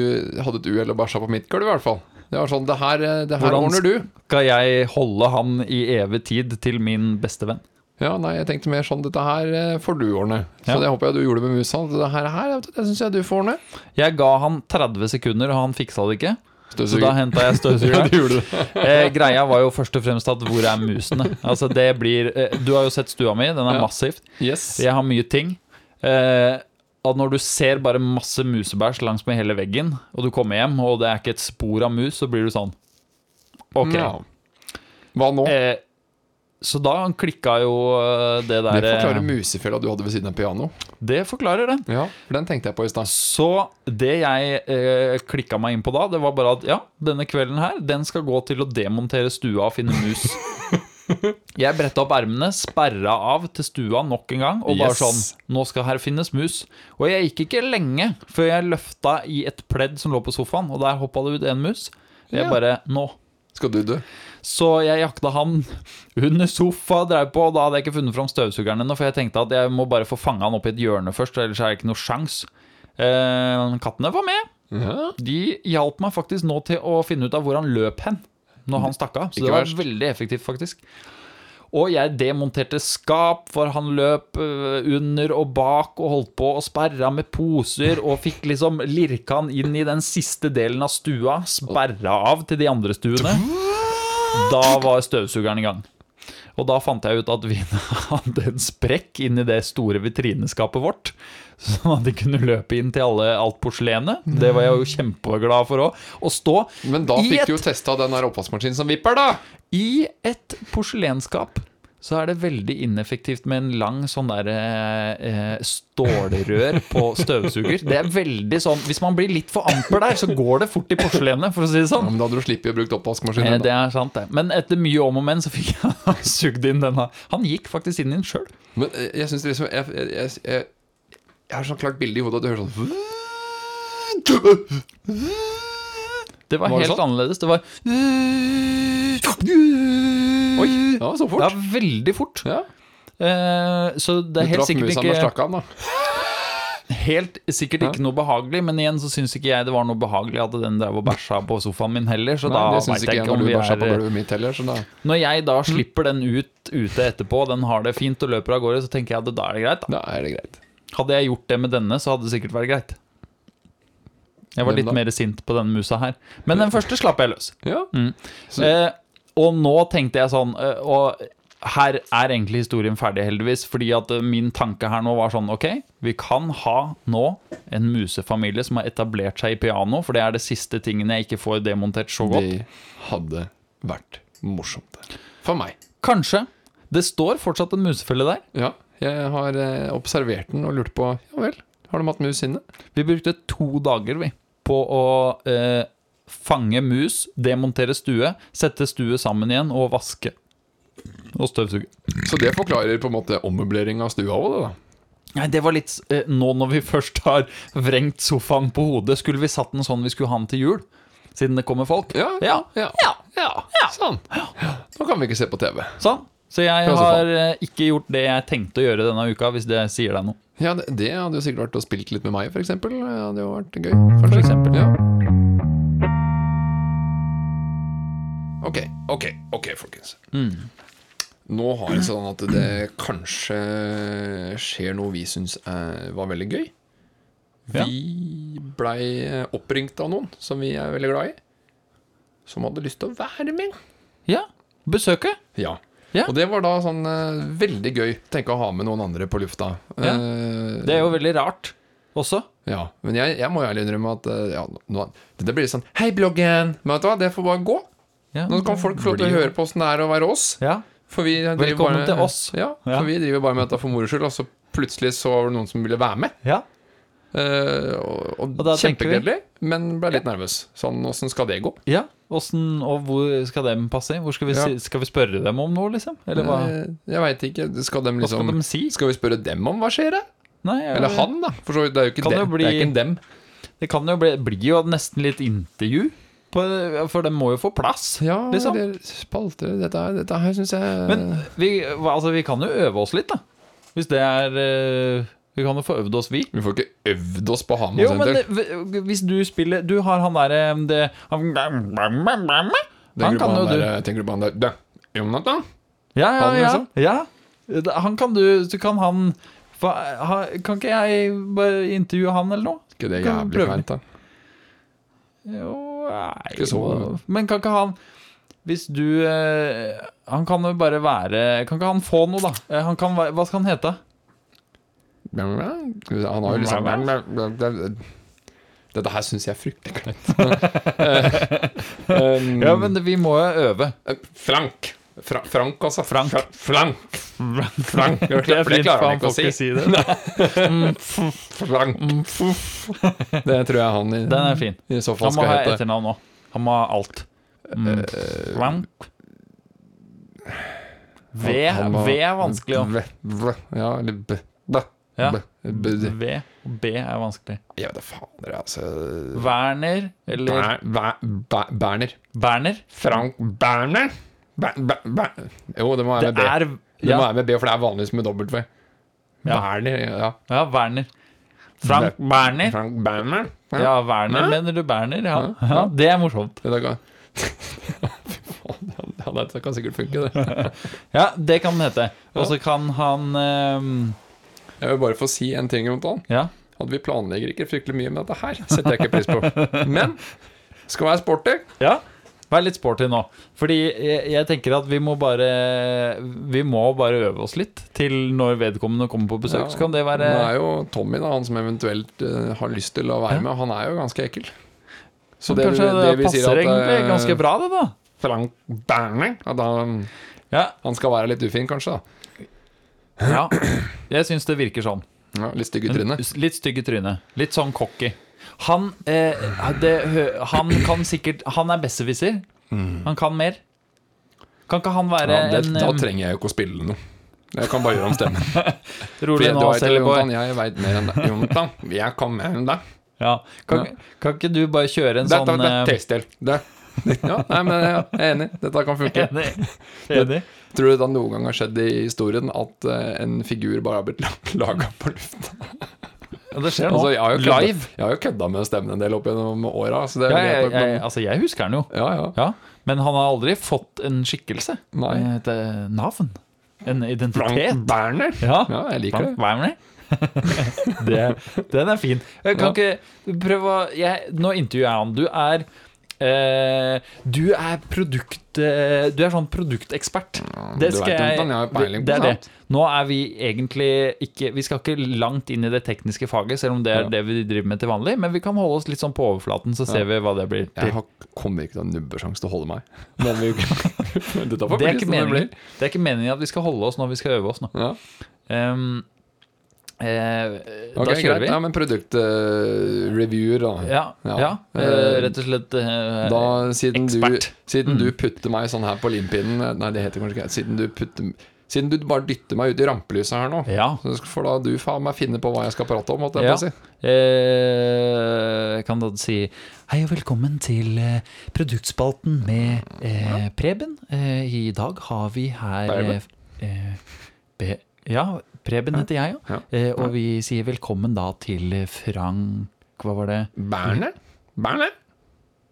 [SPEAKER 1] hadde et uhell og bæsja på mitt gulv, i hvert fall. Det var sånn Det her, det her
[SPEAKER 2] Hvordan
[SPEAKER 1] ordner du.
[SPEAKER 2] Skal jeg holde han i evig tid til min bestevenn?
[SPEAKER 1] Ja, nei, jeg tenkte mer sånn Dette her eh, får du ordne. Så
[SPEAKER 2] Ja.
[SPEAKER 1] det håper jeg du gjorde med musa. Det her, her det syns jeg du får ordne.
[SPEAKER 2] Jeg ga han 30 sekunder, og han fiksa det ikke. Så da
[SPEAKER 1] Støvsuger.
[SPEAKER 2] henta jeg
[SPEAKER 1] Ja,
[SPEAKER 2] støvsugeren.
[SPEAKER 1] du gjorde det.
[SPEAKER 2] Eh, greia var jo først og fremst at hvor er musene? Altså det blir eh, Du har jo sett stua mi, den er
[SPEAKER 1] Ja.
[SPEAKER 2] massivt.
[SPEAKER 1] Yes.
[SPEAKER 2] Jeg har mye ting. Eh, og når du ser bare masse musebæsj langs med hele veggen, og du kommer hjem og det er ikke et spor av mus, så blir du sånn OK.
[SPEAKER 1] Ja. Hva nå?
[SPEAKER 2] Eh, så da klikka jo eh, det
[SPEAKER 1] Det
[SPEAKER 2] der
[SPEAKER 1] forklarer
[SPEAKER 2] eh,
[SPEAKER 1] musefella du hadde ved siden av pianoet.
[SPEAKER 2] det forklarer det.
[SPEAKER 1] Ja, for den tenkte jeg på i stad.
[SPEAKER 2] Så det jeg eh, klikka meg inn på da, det var bare at ja, denne kvelden her, den skal gå til å demontere stua og finne mus. jeg bretta opp ermene, sperra av til stua nok en gang, og bare
[SPEAKER 1] Yes.
[SPEAKER 2] sånn Nå skal her finnes mus. Og jeg gikk ikke lenge før jeg løfta i et pledd som lå på sofaen, og der hoppa det ut en mus. Jeg
[SPEAKER 1] Ja.
[SPEAKER 2] bare Nå.
[SPEAKER 1] Skal du dø?
[SPEAKER 2] Så jeg jakta han under sofa, drev på, og da hadde jeg ikke funnet fram støvsugeren ennå, for jeg tenkte at jeg må bare få fanga han opp i et hjørne først, ellers er det ikke noe sjans. Eh, kattene var med.
[SPEAKER 1] Ja.
[SPEAKER 2] De hjalp meg faktisk nå til å finne ut av hvor han løp hen når han stakk av. Så
[SPEAKER 1] Ikke
[SPEAKER 2] det var
[SPEAKER 1] verst.
[SPEAKER 2] veldig effektivt, faktisk. Og jeg demonterte skap, for han løp øh, under og bak og holdt på og sperra med poser og fikk liksom lirka han inn i den siste delen av stua, sperra av til de andre stuene. Da var støvsugeren i gang. Og da fant jeg ut at vi hadde en sprekk inni det store vitrineskapet vårt. Sånn at de kunne løpe inn til alle, alt porselenet. Det var jeg jo kjempeglad for òg. Å stå
[SPEAKER 1] Men da
[SPEAKER 2] I
[SPEAKER 1] fikk
[SPEAKER 2] et-
[SPEAKER 1] du jo testa den der oppvaskmaskinen som vipper, da!
[SPEAKER 2] i et porselenskap så er det veldig ineffektivt med en lang sånn der eh, eh, stålrør på støvsuger. Det er veldig sånn Hvis man blir litt for amper der, så går det fort i porselenet, for å si det
[SPEAKER 1] Ja,
[SPEAKER 2] sånn.
[SPEAKER 1] men da hadde du sluppet å bruke
[SPEAKER 2] Eh,
[SPEAKER 1] oppvaskmaskinen.
[SPEAKER 2] det
[SPEAKER 1] da.
[SPEAKER 2] er sant, det. Men etter mye om og men så fikk jeg sugd inn denne. Han gikk faktisk inn i den sjøl.
[SPEAKER 1] Men eh, jeg syns liksom jeg, jeg, jeg, jeg, jeg har sånn klart bilde i hodet at du hører sånn
[SPEAKER 2] Det var,
[SPEAKER 1] Var det
[SPEAKER 2] helt
[SPEAKER 1] sånn?
[SPEAKER 2] annerledes. Det var
[SPEAKER 1] Oi, det var så
[SPEAKER 2] Det
[SPEAKER 1] fort.
[SPEAKER 2] var veldig fort.
[SPEAKER 1] Ja.
[SPEAKER 2] Eh, så det
[SPEAKER 1] Du
[SPEAKER 2] er helt
[SPEAKER 1] traff
[SPEAKER 2] sikkert
[SPEAKER 1] musa med
[SPEAKER 2] ikke
[SPEAKER 1] stakkan, da.
[SPEAKER 2] Helt sikkert ikke noe behagelig, men igjen så syns ikke jeg det var noe behagelig at den drev og bæsja på sofaen min heller, så
[SPEAKER 1] Nei,
[SPEAKER 2] da
[SPEAKER 1] det syns
[SPEAKER 2] veit
[SPEAKER 1] ikke
[SPEAKER 2] jeg
[SPEAKER 1] jeg
[SPEAKER 2] ikke om
[SPEAKER 1] når du
[SPEAKER 2] vi
[SPEAKER 1] bæsja på
[SPEAKER 2] er
[SPEAKER 1] gulvet Mm. mitt heller. Så da.
[SPEAKER 2] Når jeg da slipper den ut ute etterpå, den har det fint og løper av gårde, så tenker jeg at da er det greit. da.
[SPEAKER 1] da er det greit.
[SPEAKER 2] Hadde jeg gjort det med denne, så hadde det sikkert vært greit. Jeg var
[SPEAKER 1] Hvem
[SPEAKER 2] litt
[SPEAKER 1] da?
[SPEAKER 2] mer sint på denne musa her. Men den første slapp jeg løs.
[SPEAKER 1] Ja. Så-
[SPEAKER 2] Eh, og nå tenkte jeg sånn eh, Og her er egentlig historien ferdig, heldigvis. Fordi at eh, min tanke her nå var sånn Ok, vi kan ha nå en musefamilie som har etablert seg i piano, for det er det siste tingen jeg ikke får demontert så godt.
[SPEAKER 1] Det hadde vært morsomt. For meg.
[SPEAKER 2] Kanskje. Det står fortsatt en musefelle der.
[SPEAKER 1] Ja. Jeg har eh, observert den og lurt på Ja vel, har de hatt mus inne?
[SPEAKER 2] Vi brukte to dager vi på å eh, fange mus, demontere stue, sette stue sammen igjen og vaske. Og støvsuge.
[SPEAKER 1] Så det forklarer på en måte ommøblering av stua òg, det da.
[SPEAKER 2] Nei, det var litt eh, Nå når vi først har vrengt sofaen på hodet, skulle vi satt den sånn vi skulle ha den til jul? Siden det kommer folk?
[SPEAKER 1] Ja, ja,
[SPEAKER 2] Ja.
[SPEAKER 1] ja. Sånn. Nå kan vi ikke se på TV.
[SPEAKER 2] Sånn. Så jeg
[SPEAKER 1] Fra sofaen.
[SPEAKER 2] har eh, ikke gjort det jeg tenkte å gjøre denne uka, hvis det sier deg noe.
[SPEAKER 1] Ja, det, det hadde jo sikkert vært å spilt litt med meg, f.eks. Det hadde jo vært gøy.
[SPEAKER 2] For
[SPEAKER 1] Kanskje.
[SPEAKER 2] eksempel.
[SPEAKER 1] Ja. Ok, ok, ok, folkens.
[SPEAKER 2] Mm.
[SPEAKER 1] Nå har det sånn at det kanskje skjer noe vi syns var veldig gøy.
[SPEAKER 2] Ja.
[SPEAKER 1] Vi blei oppringt av noen som vi er veldig glad i, som hadde lyst til å være med.
[SPEAKER 2] Ja. Besøket.
[SPEAKER 1] Ja.
[SPEAKER 2] Ja.
[SPEAKER 1] Og det var da sånn eh, veldig gøy. Tenke å ha med noen andre på lufta.
[SPEAKER 2] Ja.
[SPEAKER 1] Eh,
[SPEAKER 2] Det er jo veldig rart også.
[SPEAKER 1] ja, men jeg, jeg må jo ærlig innrømme at eh, ja, nå, det blir sånn Hei, bloggen! Men vet du hva, det får bare gå.
[SPEAKER 2] Ja.
[SPEAKER 1] Nå kan folk få lov til å høre på åssen det er å være oss.
[SPEAKER 2] Ja.
[SPEAKER 1] For vi driver
[SPEAKER 2] Velkommen
[SPEAKER 1] bare,
[SPEAKER 2] til oss.
[SPEAKER 1] Ja, for
[SPEAKER 2] Ja.
[SPEAKER 1] vi driver bare med dette for moro skyld, og så plutselig så var det noen som ville være med.
[SPEAKER 2] ja.
[SPEAKER 1] Eh, og og,
[SPEAKER 2] Og da tenker vi-
[SPEAKER 1] kjempegledelig, men ble litt nervøs. Sånn, åssen skal det gå?
[SPEAKER 2] Ja, Åssen og hvor skal dem passe inn? Hvor skal, vi
[SPEAKER 1] Ja.
[SPEAKER 2] si, skal vi spørre dem om noe, liksom? Eller hva,
[SPEAKER 1] Eh, jeg veit ikke. Skal de
[SPEAKER 2] hva skal
[SPEAKER 1] liksom
[SPEAKER 2] de si?
[SPEAKER 1] Skal vi spørre dem om hva skjer, da?
[SPEAKER 2] Nei, jeg-
[SPEAKER 1] Eller han, da? For så vidt, det er jo ikke,
[SPEAKER 2] Kan
[SPEAKER 1] dem.
[SPEAKER 2] jo bli-
[SPEAKER 1] Det er ikke en dem.
[SPEAKER 2] Det kan jo bli, blir jo nesten litt intervju, på, for de må jo få plass.
[SPEAKER 1] Ja,
[SPEAKER 2] liksom.
[SPEAKER 1] eller spalter Dette, er- dette her syns jeg
[SPEAKER 2] Men vi, altså, vi kan jo øve oss litt, da. Hvis det er eh, Vi kan jo få øvd oss, vi.
[SPEAKER 1] Vi får ikke øvd oss på altså, Hamar
[SPEAKER 2] Jo, men
[SPEAKER 1] senter.
[SPEAKER 2] eh, hvis du spiller Du har han derre det- Han han
[SPEAKER 1] Tenker du på
[SPEAKER 2] kan
[SPEAKER 1] han
[SPEAKER 2] jo du.
[SPEAKER 1] der, tenker du på han der Dø, Jonathan?
[SPEAKER 2] Ja, ja,
[SPEAKER 1] han,
[SPEAKER 2] ja,
[SPEAKER 1] liksom?
[SPEAKER 2] ja. Han kan du Så kan han fa- ha- Kan ikke jeg bare intervjue han, eller noe?
[SPEAKER 1] Ikke det
[SPEAKER 2] Kan
[SPEAKER 1] jævlig
[SPEAKER 2] vi prøve?
[SPEAKER 1] kleint, da?
[SPEAKER 2] Jo, nei
[SPEAKER 1] Mm. Ikke så
[SPEAKER 2] jo. Men kan ikke han Hvis du eh, Han kan jo bare være Kan ikke han få noe, da? Eh, Han kan, være- hva skal han hete?
[SPEAKER 1] Han har jo liksom Dette her syns jeg er fryktelig kleint. Um, eh,
[SPEAKER 2] Ja, men vi må jo øve.
[SPEAKER 1] Frank. Fra, Frank, altså.
[SPEAKER 2] Frank.
[SPEAKER 1] Fra, Frank. Frank. Det, er for det klarer han ikke å si. Mm,
[SPEAKER 2] det. Mm,
[SPEAKER 1] Frank. Det tror jeg han i,
[SPEAKER 2] Den er fin.
[SPEAKER 1] i så fall
[SPEAKER 2] Han må
[SPEAKER 1] skal
[SPEAKER 2] ha
[SPEAKER 1] hete. Eh,
[SPEAKER 2] etternavn òg. Han må ha alt. Mm. Frank. V,
[SPEAKER 1] Han må-
[SPEAKER 2] v er vanskelig òg.
[SPEAKER 1] V- v- Ja, eller b... b-
[SPEAKER 2] Ja.
[SPEAKER 1] b- b-
[SPEAKER 2] V og B er vanskelig.
[SPEAKER 1] Jeg vet da fader, altså
[SPEAKER 2] Werner eller
[SPEAKER 1] Ber, Ber, Ber, Berner.
[SPEAKER 2] Berner.
[SPEAKER 1] Frank Berner? Ber, Ber, Ber. Jo, det må
[SPEAKER 2] Det
[SPEAKER 1] være med B.
[SPEAKER 2] er
[SPEAKER 1] Det må
[SPEAKER 2] Ja,
[SPEAKER 1] være med B, for det er vanligvis med W. Berner, ja.
[SPEAKER 2] ja Werner. Frank Berner.
[SPEAKER 1] Frank Berner?
[SPEAKER 2] Ja, Werner
[SPEAKER 1] Hæ?
[SPEAKER 2] mener du Berner? Ja. ja, det er morsomt.
[SPEAKER 1] Det der kan... Fy faen, ja, det- det kan sikkert funke, det.
[SPEAKER 2] Ja, det kan den hete. Og så kan han ehm,
[SPEAKER 1] Jeg vil bare få si en ting rundt han.
[SPEAKER 2] Ja.
[SPEAKER 1] At vi planlegger ikke fryktelig mye med dette her, setter jeg ikke pris på. Men skal være sporty.
[SPEAKER 2] ja. Vær litt sporty nå. Fordi jeg, jeg tenker at vi må bare Vi må bare øve oss litt til når vedkommende kommer på besøk.
[SPEAKER 1] Ja,
[SPEAKER 2] Så kan det være
[SPEAKER 1] Nå er jo Tommy, da, han som eventuelt eh, har lyst til å være med, han er jo ganske ekkel. Så det,
[SPEAKER 2] Kanskje det,
[SPEAKER 1] det vil si
[SPEAKER 2] passer
[SPEAKER 1] at eh,
[SPEAKER 2] egentlig ganske bra, det, da.
[SPEAKER 1] Frank Berner At han,
[SPEAKER 2] Ja,
[SPEAKER 1] han skal være litt ufin, kanskje. da
[SPEAKER 2] ja. Jeg syns det virker sånn.
[SPEAKER 1] ja, Litt stygg i trynet.
[SPEAKER 2] Litt stygg i trynet. Litt sånn cocky. Han, eh, det, hø- han kan sikkert Han er besserwisser. Han kan mer. Kan ikke han være
[SPEAKER 1] Mm. Ja, det,
[SPEAKER 2] en eh,
[SPEAKER 1] da
[SPEAKER 2] em,
[SPEAKER 1] trenger jeg jo ikke å spille noe. Jeg kan bare gjøre om stemmen. For
[SPEAKER 2] rolig
[SPEAKER 1] jeg, du
[SPEAKER 2] nå,
[SPEAKER 1] vet,
[SPEAKER 2] Selboy?
[SPEAKER 1] Jontan, jeg veit mer enn deg. Jontan, jeg kan mer enn deg.
[SPEAKER 2] Ja. Kan, kan ikke du bare kjøre en
[SPEAKER 1] Dette
[SPEAKER 2] sånn
[SPEAKER 1] det er
[SPEAKER 2] eh,
[SPEAKER 1] testhjelp. Det. Ja, nei, men jeg er enig. Dette kan funke.
[SPEAKER 2] Enig. Enig.
[SPEAKER 1] Tror du det noen gang har skjedd i historien at eh, en figur bare har blitt laga på lufta?
[SPEAKER 2] Ja, det skjer nå.
[SPEAKER 1] Altså, jeg har jo kødda-
[SPEAKER 2] Live.
[SPEAKER 1] Jeg har jo kødda med stemmen en del opp gjennom åra. Så det er
[SPEAKER 2] Ja,
[SPEAKER 1] greit
[SPEAKER 2] jeg,
[SPEAKER 1] nok,
[SPEAKER 2] jeg,
[SPEAKER 1] men-
[SPEAKER 2] altså, jeg husker den jo.
[SPEAKER 1] ja, ja.
[SPEAKER 2] Ja. Men han har aldri fått en skikkelse.
[SPEAKER 1] Nei.
[SPEAKER 2] Et eh, navn. En identitet.
[SPEAKER 1] Frank Berner.
[SPEAKER 2] Ja.
[SPEAKER 1] Ja, jeg liker det.
[SPEAKER 2] Frank Werner. det, den er fin. Jeg kan ikke prøve å jeg, Nå intervjuer jeg han. Du er eh, du er produkt eh, Du er sånn produktekspert. Det
[SPEAKER 1] du vet,
[SPEAKER 2] skal jeg,
[SPEAKER 1] Jonathan, jeg har jo peiling på
[SPEAKER 2] det er det.
[SPEAKER 1] sånt.
[SPEAKER 2] Nå er vi egentlig ikke Vi skal ikke langt inn i det tekniske faget, selv om det er
[SPEAKER 1] Ja.
[SPEAKER 2] det vi driver med til vanlig, men vi kan holde oss litt sånn på overflaten, så ser vi hva det blir.
[SPEAKER 1] Jeg
[SPEAKER 2] til.
[SPEAKER 1] har, kommer ikke til å ha nubbesjanse til å holde meg. Men vi, dette får
[SPEAKER 2] Det er,
[SPEAKER 1] bli som det
[SPEAKER 2] ikke meningen,
[SPEAKER 1] blir.
[SPEAKER 2] det er ikke meningen at vi skal holde oss når vi skal øve oss nå.
[SPEAKER 1] Ja.
[SPEAKER 2] Ehm, eh,
[SPEAKER 1] Ok,
[SPEAKER 2] da kjører
[SPEAKER 1] greit.
[SPEAKER 2] vi.
[SPEAKER 1] Ja, men produktreviewer, da.
[SPEAKER 2] Ja, ja.
[SPEAKER 1] Ja.
[SPEAKER 2] eh,
[SPEAKER 1] Eh,
[SPEAKER 2] rett og slett eh,
[SPEAKER 1] Da, siden du,
[SPEAKER 2] Ekspert. Mm.
[SPEAKER 1] siden du putter meg sånn her på limpinnen Nei, det heter kanskje ikke det. Siden du putter Siden du bare dytter meg ut i rampelyset her nå,
[SPEAKER 2] Ja.
[SPEAKER 1] så får da du faen meg finne på hva jeg skal prate om. holdt Jeg
[SPEAKER 2] Ja.
[SPEAKER 1] på å si.
[SPEAKER 2] eh, Jeg kan da si hei og velkommen til eh, produktspalten med eh, Preben. Eh, I dag har vi her eh,
[SPEAKER 1] Preben.
[SPEAKER 2] eh, Be- Ja, Preben heter jeg, ja. Eh, og vi sier velkommen da til Frank Hva var det?
[SPEAKER 1] Berner? Berner?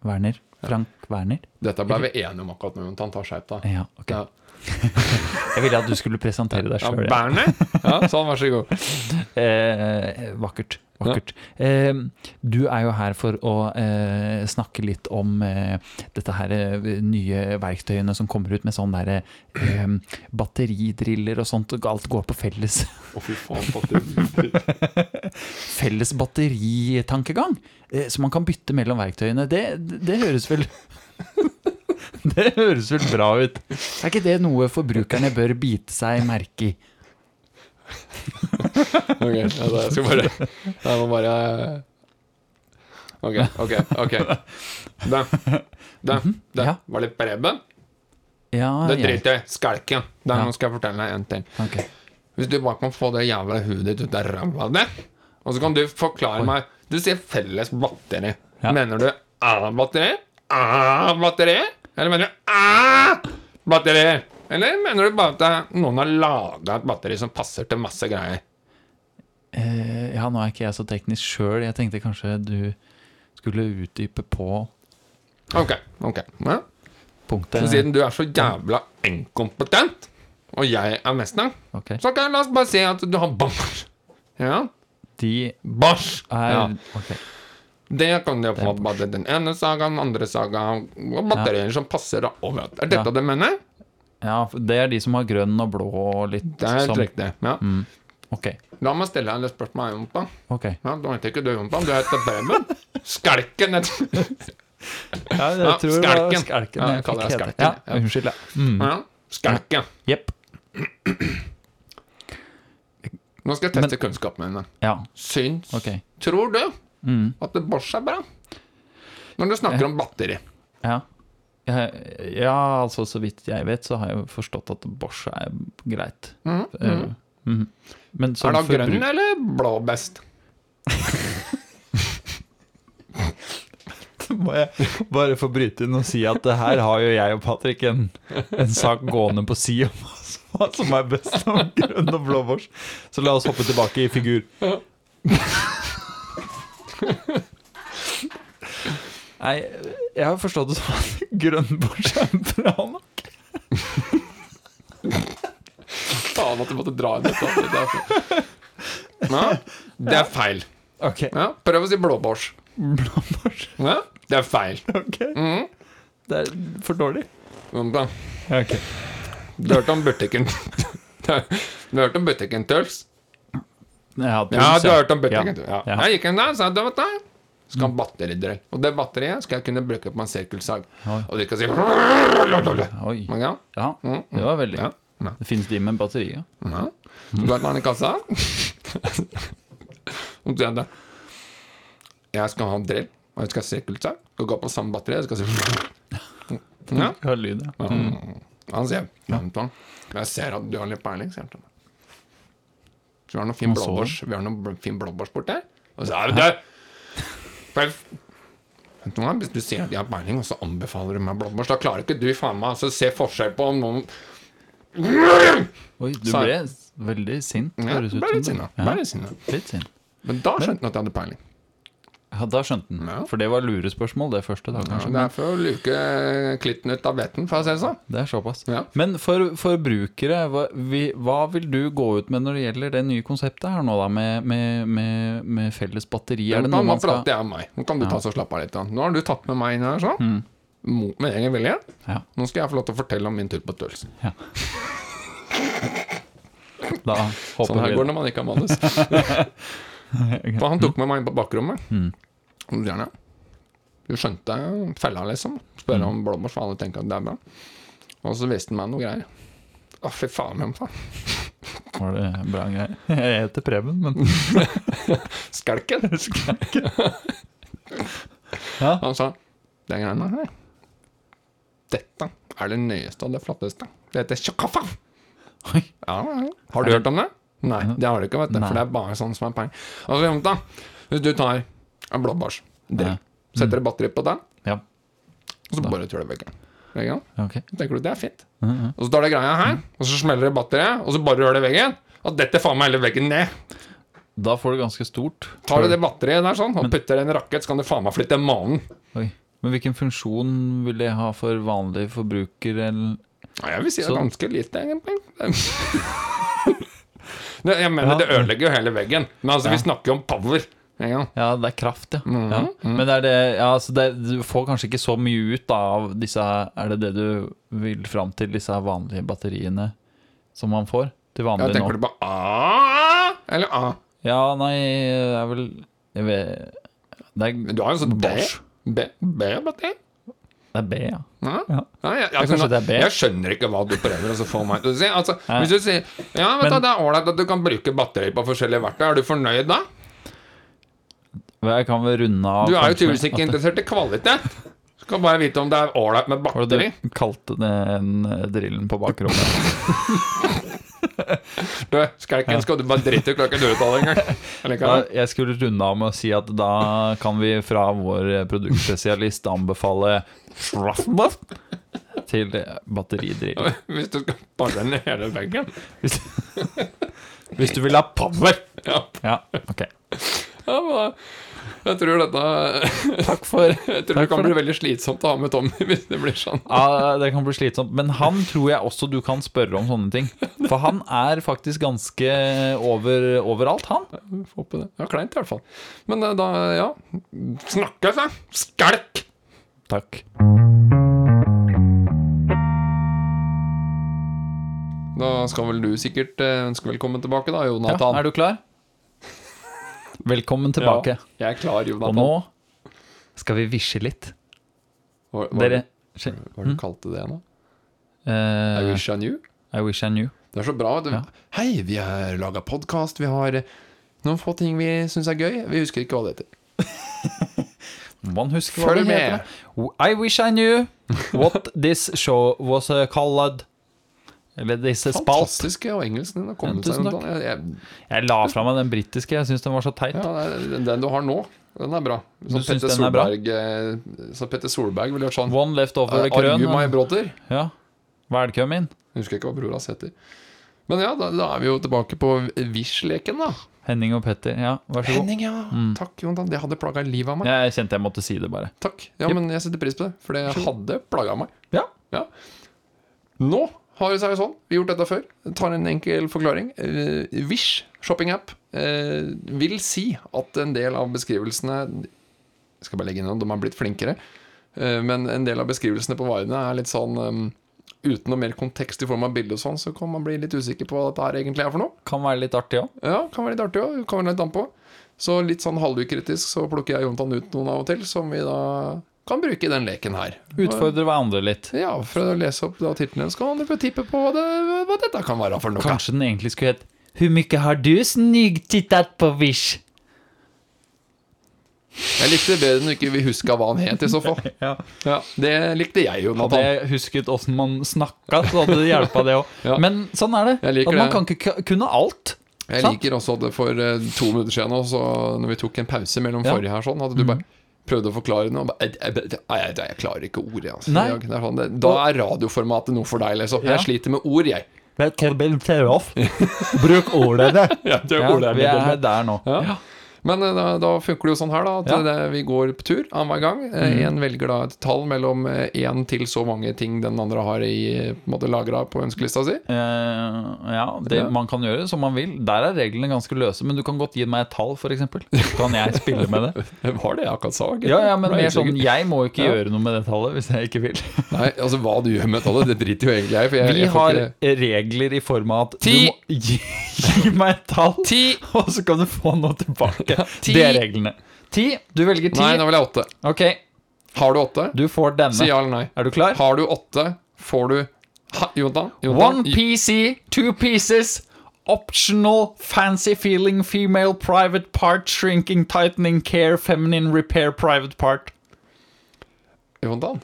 [SPEAKER 2] Werner? Frank Werner?
[SPEAKER 1] Dette ble vi enige om akkurat nå, men han tar skjerp deg.
[SPEAKER 2] Eh, Ja, ok.
[SPEAKER 1] Ja.
[SPEAKER 2] Jeg ville at du skulle presentere deg
[SPEAKER 1] Ja,
[SPEAKER 2] sjøl.
[SPEAKER 1] Berner? Ja, sånn, vær så god.
[SPEAKER 2] Eh, vakkert. vakkert. Eh, du er jo her for å eh, snakke litt om eh, dette her eh, nye verktøyene som kommer ut med sånn derre eh, batteridriller og sånt. og Alt går på felles,
[SPEAKER 1] Å, fy faen, for at du
[SPEAKER 2] felles batteritankegang. Eh, så man kan bytte mellom verktøyene. Det, det høres vel Det høres vel bra ut. Er ikke det noe forbrukerne bør bite seg merke i?
[SPEAKER 1] Ok, ja, da, jeg skal bare Jeg må bare Ok, ok, ok Da, da, da
[SPEAKER 2] ja.
[SPEAKER 1] Var det Preben?
[SPEAKER 2] Ja,
[SPEAKER 1] Det
[SPEAKER 2] ja.
[SPEAKER 1] driter Mhm, jeg i. Skalken Da
[SPEAKER 2] Ja.
[SPEAKER 1] nå skal jeg fortelle deg en ting
[SPEAKER 2] Ok.
[SPEAKER 1] Hvis du bare kan få det jævla hudet ditt ut av ræva di Og så kan du forklare meg Du sier felles batteri
[SPEAKER 2] Ja.
[SPEAKER 1] Mener du A-batteri? A-batteri? Eller mener du A-batteri? Eller mener du bare at det- noen har laget et batteri som passer til masse greier?
[SPEAKER 2] Eh, ja, nå er ikke jeg så teknisk sjøl. Jeg tenkte kanskje du skulle utdype på
[SPEAKER 1] Ok, ok ja.
[SPEAKER 2] punktet.
[SPEAKER 1] Så siden du er så jævla inkompetent, og jeg er mesteren,
[SPEAKER 2] Ok.
[SPEAKER 1] så kan jeg la oss bare si at du har bars. Ja,
[SPEAKER 2] De
[SPEAKER 1] bars.
[SPEAKER 2] er
[SPEAKER 1] Ja.
[SPEAKER 2] Ok.
[SPEAKER 1] Det kan du jo få bare den ene sagaen, den andre sagaen, og batterier som passer da overalt. Er dette
[SPEAKER 2] Ja.
[SPEAKER 1] det du mener?
[SPEAKER 2] Ja, for det er de som har grønn og blå og litt
[SPEAKER 1] Det er helt
[SPEAKER 2] som
[SPEAKER 1] riktig. Ja.
[SPEAKER 2] Mm. Ok.
[SPEAKER 1] La meg stille deg et spørsmål, Jompa.
[SPEAKER 2] ok
[SPEAKER 1] Ja, du heter ikke du Jompa, du heter Preben. Skalken heter
[SPEAKER 2] Ja, jeg
[SPEAKER 1] Ja,
[SPEAKER 2] tror det var
[SPEAKER 1] skalken.
[SPEAKER 2] skalken
[SPEAKER 1] Ja,
[SPEAKER 2] jeg
[SPEAKER 1] jeg kaller
[SPEAKER 2] fikk
[SPEAKER 1] det
[SPEAKER 2] hete.
[SPEAKER 1] skalken.
[SPEAKER 2] Ja,
[SPEAKER 1] Ja.
[SPEAKER 2] unnskyld, ja. Mm,
[SPEAKER 1] ja, Skalken.
[SPEAKER 2] Jepp.
[SPEAKER 1] Nå skal jeg teste kunnskapen min.
[SPEAKER 2] Ja,
[SPEAKER 1] Syns
[SPEAKER 2] ok.
[SPEAKER 1] Tror du
[SPEAKER 2] Mm,
[SPEAKER 1] at Bosch er bra? Når du snakker om batteri.
[SPEAKER 2] ja. Jeg- ja, altså så vidt jeg vet, så har jeg jo forstått at Bosch er greit.
[SPEAKER 1] Mhm,
[SPEAKER 2] Eh, mhm. Men som
[SPEAKER 1] Er det
[SPEAKER 2] forbruk-
[SPEAKER 1] grønn eller blå best?
[SPEAKER 2] må jeg bare få bryte inn og si at det her har jo jeg og Patrick en, en sak gående på si om hva som- hva som er best av grønn og blå bors. Så la oss hoppe tilbake i figur. Nei, jeg har forstått det sånn at grønn bors er bra nok.
[SPEAKER 1] Faen at du måtte dra inn dette. Det er, ja, det er feil.
[SPEAKER 2] Ok,
[SPEAKER 1] Ja, prøv å si blåbårs.
[SPEAKER 2] blå bors.
[SPEAKER 1] Ja, det er feil.
[SPEAKER 2] Ok.
[SPEAKER 1] Mhm.
[SPEAKER 2] Det er for dårlig.
[SPEAKER 1] Men da,
[SPEAKER 2] Ok
[SPEAKER 1] Du hørte om butikken Du hørte om butikken Tøls?
[SPEAKER 2] Ja,
[SPEAKER 1] Ja, du
[SPEAKER 2] du, ja.
[SPEAKER 1] har hørt om butikken
[SPEAKER 2] Ja.
[SPEAKER 1] Tøls. Ja.
[SPEAKER 2] Ja.
[SPEAKER 1] Jeg gikk inn der og sa du vet da, skal ha batteridrell. Og det batteriet skal jeg kunne bruke på en sirkelsag.
[SPEAKER 2] Oi.
[SPEAKER 1] Og de skal si Men
[SPEAKER 2] Oi.
[SPEAKER 1] ja,
[SPEAKER 2] Ja, det var veldig
[SPEAKER 1] ja, ja.
[SPEAKER 2] Det finnes de med batteri, ja.
[SPEAKER 1] ja. Du vet hva han i kassa? Og så er det Jeg skal ha en drill, og jeg skal ha sirkelsag. Skal gå på samme batteri. Jeg skal si Ja.
[SPEAKER 2] Hør lyd, ja.
[SPEAKER 1] Han sier «Vent da, Jeg ser at du har litt peiling, sier han til meg. Så vi har noen fin
[SPEAKER 2] Han så
[SPEAKER 1] blåbærs Vi har noen bl- fin blåbærs borti her. Og så er det det! Prøv. Vet du hva, Hvis du sier at jeg har peiling, og så anbefaler du meg blåbærs, da klarer ikke du faen meg altså, se forskjell på om noen
[SPEAKER 2] Oi, du
[SPEAKER 1] Sa-
[SPEAKER 2] ble s- veldig sint.
[SPEAKER 1] ja,
[SPEAKER 2] høres ut
[SPEAKER 1] Ble
[SPEAKER 2] som
[SPEAKER 1] litt
[SPEAKER 2] det.
[SPEAKER 1] sinna.
[SPEAKER 2] Ja,
[SPEAKER 1] ble litt sinna.
[SPEAKER 2] litt sint.
[SPEAKER 1] Men da skjønte han at jeg hadde peiling.
[SPEAKER 2] Ja, da skjønte han.
[SPEAKER 1] Ja.
[SPEAKER 2] For det var lurespørsmål, det første. da,
[SPEAKER 1] Ja,
[SPEAKER 2] kanskje.
[SPEAKER 1] det er for å luke eh, klitten ut av beten, for å si det sånn.
[SPEAKER 2] Det er såpass.
[SPEAKER 1] Ja.
[SPEAKER 2] Men for forbrukere, hva, vi, hva vil du gå ut med når det gjelder det nye konseptet her nå, da, med, med, med, med felles batteri? Er
[SPEAKER 1] Nå
[SPEAKER 2] det
[SPEAKER 1] kan
[SPEAKER 2] noe
[SPEAKER 1] man
[SPEAKER 2] man skal
[SPEAKER 1] prate jeg og meg. Nå kan du ta så slappe av litt. Da. Nå har du tatt med meg inn her sånn.
[SPEAKER 2] Mm.
[SPEAKER 1] Mot min egen vilje.
[SPEAKER 2] Ja,
[SPEAKER 1] Nå skal jeg få lov til å fortelle om min tur på Tøls.
[SPEAKER 2] da håper
[SPEAKER 1] Sånn her
[SPEAKER 2] vi
[SPEAKER 1] går det når man ikke har manus. For han tok med meg inn på bakrommet. Og så sier han, ja. Du skjønte fella, liksom. Spør om blåbærs, for alle tenker at det er bra. Og så viste han meg noe greier. Å, fy faen, hvem faen?
[SPEAKER 2] Var det bra greier? Jeg heter Preben, men
[SPEAKER 1] Skalken?
[SPEAKER 2] Ja.
[SPEAKER 1] Han sa Det greiene her Dette er det nøyeste og det flotteste. Det heter tjokkafa.
[SPEAKER 2] Oi.
[SPEAKER 1] Ja, ja, ja. har du hørt om det? Nei, det har du ikke, vet du. For
[SPEAKER 2] Nei.
[SPEAKER 1] det er bare sånn som er penger. Altså, jenta, hvis du tar en blåbærs,
[SPEAKER 2] Ja.
[SPEAKER 1] drill, setter et batteri på den,
[SPEAKER 2] Ja,
[SPEAKER 1] og så bare tuller du veggen. Veggen,
[SPEAKER 2] ok.
[SPEAKER 1] Så tenker du det er fint.
[SPEAKER 2] Mhm.
[SPEAKER 1] Og så tar det greia her, og så smeller det batteriet, og så bare rører det veggen. Og dette faen meg hele veggen ned.
[SPEAKER 2] Da får du ganske stort.
[SPEAKER 1] Tar du det batteriet der sånn, og putter det i en rakett, så kan du faen meg flytte månen.
[SPEAKER 2] Oi. Men hvilken funksjon vil det ha for vanlig forbruker? Eller?
[SPEAKER 1] Nei, Jeg vil si det er
[SPEAKER 2] Så-
[SPEAKER 1] ganske lite, egentlig. Det- Jeg mener,
[SPEAKER 2] Ja.
[SPEAKER 1] det ødelegger jo hele veggen. Men altså, vi snakker jo om power. Ja.
[SPEAKER 2] Ja, det er kraft, ja.
[SPEAKER 1] Mhm,
[SPEAKER 2] ja. Men er det, ja, så det, du får kanskje ikke så mye ut da, av disse Er det det du vil fram til, disse vanlige batteriene som man får til
[SPEAKER 1] Ja,
[SPEAKER 2] vanlig
[SPEAKER 1] tenker
[SPEAKER 2] nå?
[SPEAKER 1] du på A eller A?
[SPEAKER 2] Ja, nei, det er vel jeg vet, det, er,
[SPEAKER 1] Men Du har jo sånn B.
[SPEAKER 2] Bosch.
[SPEAKER 1] B, B batteri.
[SPEAKER 2] det er B, ja.
[SPEAKER 1] Ja.
[SPEAKER 2] Ja.
[SPEAKER 1] Ja, jeg, altså,
[SPEAKER 2] kanskje
[SPEAKER 1] nå-
[SPEAKER 2] det er B.
[SPEAKER 1] jeg skjønner ikke hva du prøver å få meg til å si. Altså, hvis du sier ja, vet du,
[SPEAKER 2] Men-
[SPEAKER 1] det er ålreit at du kan bruke batteri på forskjellige verktøy, er du fornøyd da?
[SPEAKER 2] Men Jeg kan vel runde av
[SPEAKER 1] Du er jo
[SPEAKER 2] kanskje
[SPEAKER 1] tydeligvis ikke
[SPEAKER 2] at-
[SPEAKER 1] interessert i kvalitet. Du skal bare vite om det er ålreit med
[SPEAKER 2] Hva var det
[SPEAKER 1] batteri.
[SPEAKER 2] du kalte den eh, drillen på bakrommet?
[SPEAKER 1] Du, Skalken, skal du bare drite i klokka du uttaler engang? Eller hva?
[SPEAKER 2] Da- Jeg skulle runde av med å si at da kan vi fra vår eh, produktspesialist anbefale Schwarzbach til eh, batteridrill.
[SPEAKER 1] Hvis du skal bare ned hele veggen.
[SPEAKER 2] Hvis, hvis du vil ha power!
[SPEAKER 1] Ja,
[SPEAKER 2] Ja, ok.
[SPEAKER 1] ja men jeg tror dette
[SPEAKER 2] Takk for
[SPEAKER 1] Jeg tror
[SPEAKER 2] Takk
[SPEAKER 1] det kan
[SPEAKER 2] for
[SPEAKER 1] bli veldig slitsomt å ha med Tommy hvis det blir sånn.
[SPEAKER 2] ja, Det kan bli slitsomt. Men han tror jeg også du kan spørre om sånne ting. For han er faktisk ganske over, overalt, han.
[SPEAKER 1] Vi får håpe det. Ja, kleint i hvert fall. Men eh, da, ja Snakkes, da! Skalk!
[SPEAKER 2] Takk.
[SPEAKER 1] Da skal vel du sikkert eh, ønske velkommen tilbake, da,
[SPEAKER 2] Ja,
[SPEAKER 1] Jonathan.
[SPEAKER 2] er du klar? Velkommen tilbake.
[SPEAKER 1] Ja, jeg er klar,
[SPEAKER 2] Og
[SPEAKER 1] Jonathan.
[SPEAKER 2] nå skal vi visje litt.
[SPEAKER 1] Hva, hva,
[SPEAKER 2] Dere hm?
[SPEAKER 1] hva er det du kalte det nå? I
[SPEAKER 2] eh,
[SPEAKER 1] wish I knew?
[SPEAKER 2] I wish I knew.
[SPEAKER 1] Det er så bra. Du.
[SPEAKER 2] Ja.
[SPEAKER 1] Hei, vi har laga podkast. Vi har eh, noen få ting vi syns er gøy. Vi husker ikke hva det heter.
[SPEAKER 2] Man husker hva
[SPEAKER 1] Følg
[SPEAKER 2] det heter.
[SPEAKER 1] med!
[SPEAKER 2] I wish I knew what this show was uh, called. Eller this spalt.
[SPEAKER 1] Fantastiske og engelsken din har kommet
[SPEAKER 2] Ja,
[SPEAKER 1] seg
[SPEAKER 2] tusen
[SPEAKER 1] unna. Jeg, jeg,
[SPEAKER 2] Jeg la fra meg den britiske, jeg syns den var så teit.
[SPEAKER 1] ja, det er- den du har nå, den er bra. Som
[SPEAKER 2] Du syns
[SPEAKER 1] Petter
[SPEAKER 2] den er bra?
[SPEAKER 1] Solberg, eh, så Petter Solberg ville gjort sånn.
[SPEAKER 2] One left over
[SPEAKER 1] Eh,
[SPEAKER 2] the krøn.
[SPEAKER 1] Argu meg, Bråter.
[SPEAKER 2] Ja. Velkommen.
[SPEAKER 1] Jeg husker ikke hva bror hans heter. Men ja, da, da er vi jo tilbake på Wish-leken, da.
[SPEAKER 2] Henning og Petter, ja, vær så god.
[SPEAKER 1] Henning, ja. Takk, Jonathan. Det hadde plaga livet av meg.
[SPEAKER 2] Jeg kjente jeg måtte si det, bare.
[SPEAKER 1] Takk. Ja, men jeg setter pris på det, for det hadde plaga meg.
[SPEAKER 2] Ja.
[SPEAKER 1] Ja. Nå har det seg jo sånn. Vi har gjort dette før. Tar en enkel forklaring. Eh, Wish shopping-app eh, vil si at en del av beskrivelsene Jeg skal bare legge inn at de har blitt flinkere. Eh, Men en del av beskrivelsene på varene er litt sånn eh, Uten noe mer kontekst i form av bilde og sånn, så kan man bli litt usikker på hva dette her egentlig er for noe.
[SPEAKER 2] Kan være litt artig òg.
[SPEAKER 1] Ja, kan være litt artig òg. Kommer litt an på. Så litt sånn halvukritisk så plukker jeg Jontan ut noen av og til, som vi da kan bruke i den leken her.
[SPEAKER 2] Utfordre hverandre litt.
[SPEAKER 1] Ja, for å lese opp da tittelen skal han tippe på hva, det, hva dette kan være for noe.
[SPEAKER 2] Kanskje den egentlig skulle hett Hvor mye har du snygtittet på Wish?
[SPEAKER 1] Jeg likte det bedre når ikke vi huska hva han het, i så fall.
[SPEAKER 2] Ja.
[SPEAKER 1] Ja, Det likte jeg,
[SPEAKER 2] Hadde
[SPEAKER 1] Jonathan.
[SPEAKER 2] jeg husket åssen man snakka, så hadde det hjulpet, det òg.
[SPEAKER 1] Ja.
[SPEAKER 2] Men sånn er det.
[SPEAKER 1] Jeg liker
[SPEAKER 2] At man
[SPEAKER 1] det.
[SPEAKER 2] kan ikke k- kunne alt.
[SPEAKER 1] Jeg
[SPEAKER 2] sant?
[SPEAKER 1] liker også at det for eh, to minutter siden, også, når vi tok en pause mellom
[SPEAKER 2] Ja. Mhm.
[SPEAKER 1] forrige her, sånn, at du bare prøvde å forklare noe. og Bare, jeg, jeg, jeg, jeg klarer ikke ord, jeg. Altså.
[SPEAKER 2] Nei.
[SPEAKER 1] Jeg- Det er sånn, det, da er radioformatet noe for deg, liksom.
[SPEAKER 2] Ja.
[SPEAKER 1] Jeg sliter med ord, jeg.
[SPEAKER 2] Bruk ordene.
[SPEAKER 1] Ja,
[SPEAKER 2] Ja, vi er der nå.
[SPEAKER 1] Ja. Men eh, da, da funker det jo sånn her, da. At
[SPEAKER 2] Ja. Mm.
[SPEAKER 1] det, vi går på tur annenhver gang. Én velger da et tall mellom én til så mange ting den andre har i, eh, på en måte lagra på ønskelista si.
[SPEAKER 2] Eh, ja, det
[SPEAKER 1] Ja.
[SPEAKER 2] man kan gjøre som man vil. Der er reglene ganske løse, men du kan godt gi meg et tall, f.eks. Kan jeg spille med det?
[SPEAKER 1] Det var det jeg akkurat sa. ikke?
[SPEAKER 2] Ja, ja, men
[SPEAKER 1] Ble
[SPEAKER 2] mer
[SPEAKER 1] helt
[SPEAKER 2] sånn
[SPEAKER 1] sikker.
[SPEAKER 2] Jeg må jo ikke
[SPEAKER 1] Ja.
[SPEAKER 2] gjøre noe med det tallet hvis jeg ikke vil.
[SPEAKER 1] Nei, altså hva du gjør med tallet, det driter jo egentlig jeg i. for jeg-
[SPEAKER 2] Vi
[SPEAKER 1] jeg får
[SPEAKER 2] har
[SPEAKER 1] ikke-
[SPEAKER 2] regler i form av at du
[SPEAKER 1] Ti.
[SPEAKER 2] må gi, gi meg et tall,
[SPEAKER 1] Ti!
[SPEAKER 2] og så kan du få noe tilbake.
[SPEAKER 1] ti.
[SPEAKER 2] Det er reglene. Ti. Du velger ti.
[SPEAKER 1] Nei, nå vil jeg åtte.
[SPEAKER 2] Ok,
[SPEAKER 1] Har du åtte?
[SPEAKER 2] du får
[SPEAKER 1] Si
[SPEAKER 2] denne.
[SPEAKER 1] ja eller nei.
[SPEAKER 2] Er du klar?
[SPEAKER 1] Har du åtte, får du ha, Jontan? Jontan?
[SPEAKER 2] One PC, two pieces. Optional, fancy feeling, female, private part, shrinking, tightening, care, feminine, repair, private part.
[SPEAKER 1] Jontan?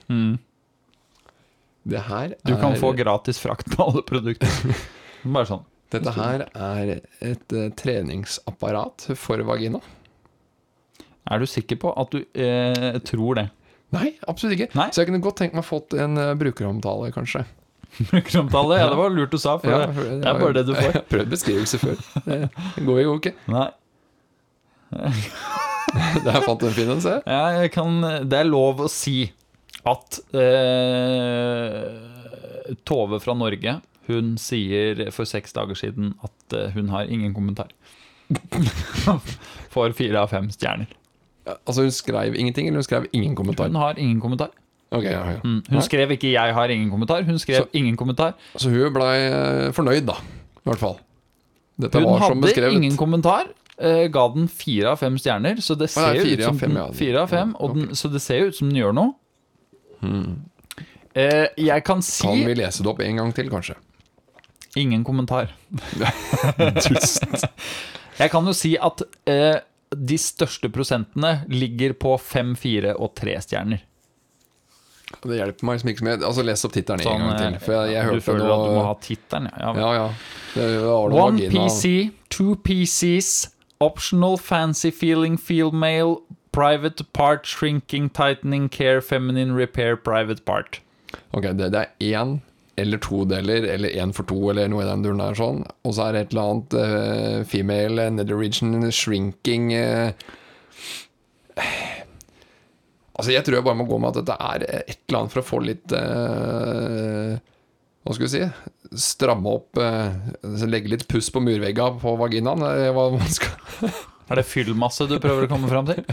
[SPEAKER 1] Det her er
[SPEAKER 2] Mm. Du kan få gratis frakt på alle produkter. Bare sånn.
[SPEAKER 1] Dette her er et eh, treningsapparat for vagina.
[SPEAKER 2] Er du sikker på at du eh, tror det?
[SPEAKER 1] Nei, absolutt ikke.
[SPEAKER 2] Nei.
[SPEAKER 1] Så jeg kunne godt tenkt meg fått en eh, brukeromtale, kanskje.
[SPEAKER 2] Brukeromtale? Ja, det var lurt du sa, for
[SPEAKER 1] Ja,
[SPEAKER 2] det,
[SPEAKER 1] for jeg
[SPEAKER 2] det er
[SPEAKER 1] har-
[SPEAKER 2] bare det du
[SPEAKER 1] Jeg
[SPEAKER 2] får.
[SPEAKER 1] har prøvd beskrivelse før. Det går jo ikke.
[SPEAKER 2] Nei.
[SPEAKER 1] Der fant du en fin en, se.
[SPEAKER 2] Ja, jeg kan, det er lov å si at eh, Tove fra Norge Hun sier for seks dager siden at eh, hun har ingen kommentar. For fire av fem stjerner.
[SPEAKER 1] Ja, Altså, hun skrev ingenting, eller hun skrev ingen kommentar?
[SPEAKER 2] Hun har ingen kommentar.
[SPEAKER 1] Ok, ja, ja.
[SPEAKER 2] Mm,
[SPEAKER 1] Nei.
[SPEAKER 2] Hun skrev ikke 'jeg har ingen kommentar', hun skrev
[SPEAKER 1] Så-
[SPEAKER 2] 'ingen kommentar'.
[SPEAKER 1] Så hun blei eh, fornøyd, da. I hvert fall. Dette
[SPEAKER 2] Hun
[SPEAKER 1] var som
[SPEAKER 2] hadde
[SPEAKER 1] beskrevet.
[SPEAKER 2] ingen kommentar. eh, ga den fire av fem stjerner, så det ser
[SPEAKER 1] nei,
[SPEAKER 2] jo
[SPEAKER 1] fire
[SPEAKER 2] ut
[SPEAKER 1] av
[SPEAKER 2] som
[SPEAKER 1] fem,
[SPEAKER 2] den,
[SPEAKER 1] ja. Hmm.
[SPEAKER 2] fire av fem, og den, så det ser jo ut som den gjør noe. Eh, jeg kan si
[SPEAKER 1] Kan vi lese det opp en gang til, kanskje?
[SPEAKER 2] Ingen kommentar. Jeg kan jo si at eh, de største prosentene ligger på fem, fire og tre stjerner.
[SPEAKER 1] Det hjelper meg liksom ikke så mye. Altså, les opp tittelen
[SPEAKER 2] Sånn,
[SPEAKER 1] en gang til.
[SPEAKER 2] eh,
[SPEAKER 1] For jeg, jeg
[SPEAKER 2] du
[SPEAKER 1] hørte
[SPEAKER 2] føler
[SPEAKER 1] noe
[SPEAKER 2] at du må ha tittelen, ja. ja.
[SPEAKER 1] Ja, ja. Det var noe
[SPEAKER 2] One
[SPEAKER 1] vagina.
[SPEAKER 2] PC, two PCs, optional fancy feeling female, private part, shrinking, tightening, care, feminine, repair, private part.
[SPEAKER 1] Ok, det, det er én eller to deler, eller én for to, eller noe i den duren der sånn. Og så er det et eller annet eh, female, eh, nether region, shrinking eh. Altså, jeg tror jeg bare må gå med at dette er et eller annet for å få litt eh, Hva skal vi si? Stramme opp eh, Legge litt puss på murvegga på vaginaen. eh, Hva man skal
[SPEAKER 2] Er det fyllmasse du prøver å komme fram til?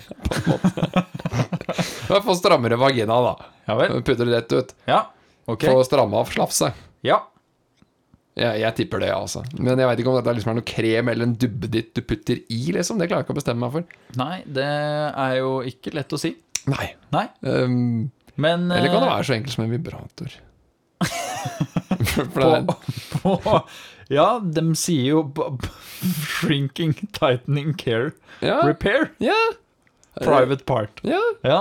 [SPEAKER 1] Få strammere vagina, da.
[SPEAKER 2] Ja vel.
[SPEAKER 1] Putter det rett ut.
[SPEAKER 2] Ja. Ok.
[SPEAKER 1] Få stramma av slafset.
[SPEAKER 2] Ja.
[SPEAKER 1] Jeg, jeg tipper det, altså. Men jeg veit ikke om dette liksom er noe krem eller en dubbeditt du putter i, liksom. Det klarer jeg ikke å bestemme meg for.
[SPEAKER 2] Nei, det er jo ikke lett å si.
[SPEAKER 1] Nei.
[SPEAKER 2] Nei.
[SPEAKER 1] Ehm,
[SPEAKER 2] Men
[SPEAKER 1] eller kan det
[SPEAKER 2] eh,
[SPEAKER 1] være så enkelt som en vibrator? for, for det,
[SPEAKER 2] på, på Ja, de sier jo b- b- Shrinking, tightening, care,
[SPEAKER 1] ja,
[SPEAKER 2] repair,
[SPEAKER 1] ja,
[SPEAKER 2] private part.
[SPEAKER 1] ja.
[SPEAKER 2] Ja,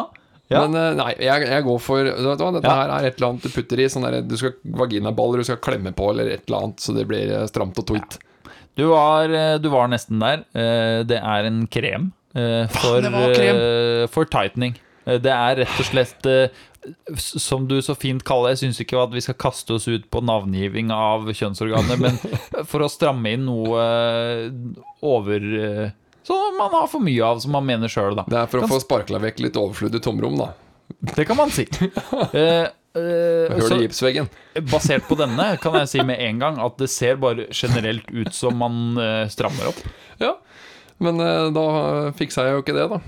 [SPEAKER 2] ja.
[SPEAKER 1] Men eh, nei, jeg, jeg går for vet du hva, Dette
[SPEAKER 2] Ja.
[SPEAKER 1] her er et eller annet du putter i. Sånn der, du skal Vaginaballer du skal klemme på, eller et eller annet, så det blir eh, stramt og tweet.
[SPEAKER 2] Du, var, eh, du var nesten der. Eh, Det er en krem eh, for,
[SPEAKER 1] det var krem.
[SPEAKER 2] eh, for tightening. Eh, Det er rett og slett eh, s- som du så fint kaller det, jeg syns ikke at vi skal kaste oss ut på navngiving av kjønnsorganer, men for å stramme inn noe eh, over eh, Som man har for mye av, som man mener sjøl, da.
[SPEAKER 1] Det er for å få sparkla vekk litt overflødig tomrom, da.
[SPEAKER 2] Det kan man si. Eh, eh,
[SPEAKER 1] Høl
[SPEAKER 2] så
[SPEAKER 1] i gipsveggen.
[SPEAKER 2] basert på denne kan jeg si med en gang at det ser bare generelt ut som man eh, strammer opp.
[SPEAKER 1] Ja. Men eh, da fiksa jeg jo ikke det, da.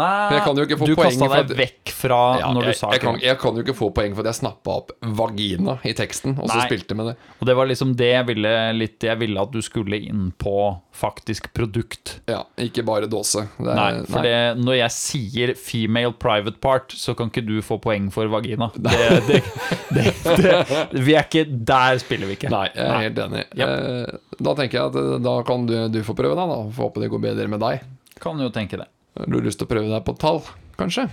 [SPEAKER 2] Nei,
[SPEAKER 1] Jeg kan jo ikke få
[SPEAKER 2] du
[SPEAKER 1] poeng
[SPEAKER 2] kasta
[SPEAKER 1] for
[SPEAKER 2] deg
[SPEAKER 1] at-
[SPEAKER 2] vekk fra
[SPEAKER 1] Ja,
[SPEAKER 2] når
[SPEAKER 1] jeg,
[SPEAKER 2] du sa
[SPEAKER 1] jeg, kan,
[SPEAKER 2] kropp.
[SPEAKER 1] jeg kan jo ikke få poeng for at jeg snappa opp vagina i teksten, og så
[SPEAKER 2] Nei.
[SPEAKER 1] spilte med det.
[SPEAKER 2] Og det var liksom det jeg ville litt Jeg ville at du skulle inn på faktisk produkt.
[SPEAKER 1] Ja, ikke bare dåse. Det er,
[SPEAKER 2] Nei, for
[SPEAKER 1] Eh, nei.
[SPEAKER 2] Det, når jeg sier 'female private part', så kan ikke du få poeng for vagina. Det, det, det, det, vi er ikke Der spiller vi ikke.
[SPEAKER 1] Nei, jeg er helt enig.
[SPEAKER 2] Yep.
[SPEAKER 1] Eh, da tenker jeg at eh, da kan du, du få prøve, da. da. Får håpe det går bedre med deg.
[SPEAKER 2] Kan jo tenke det.
[SPEAKER 1] Har du lyst til å prøve deg på tall, kanskje?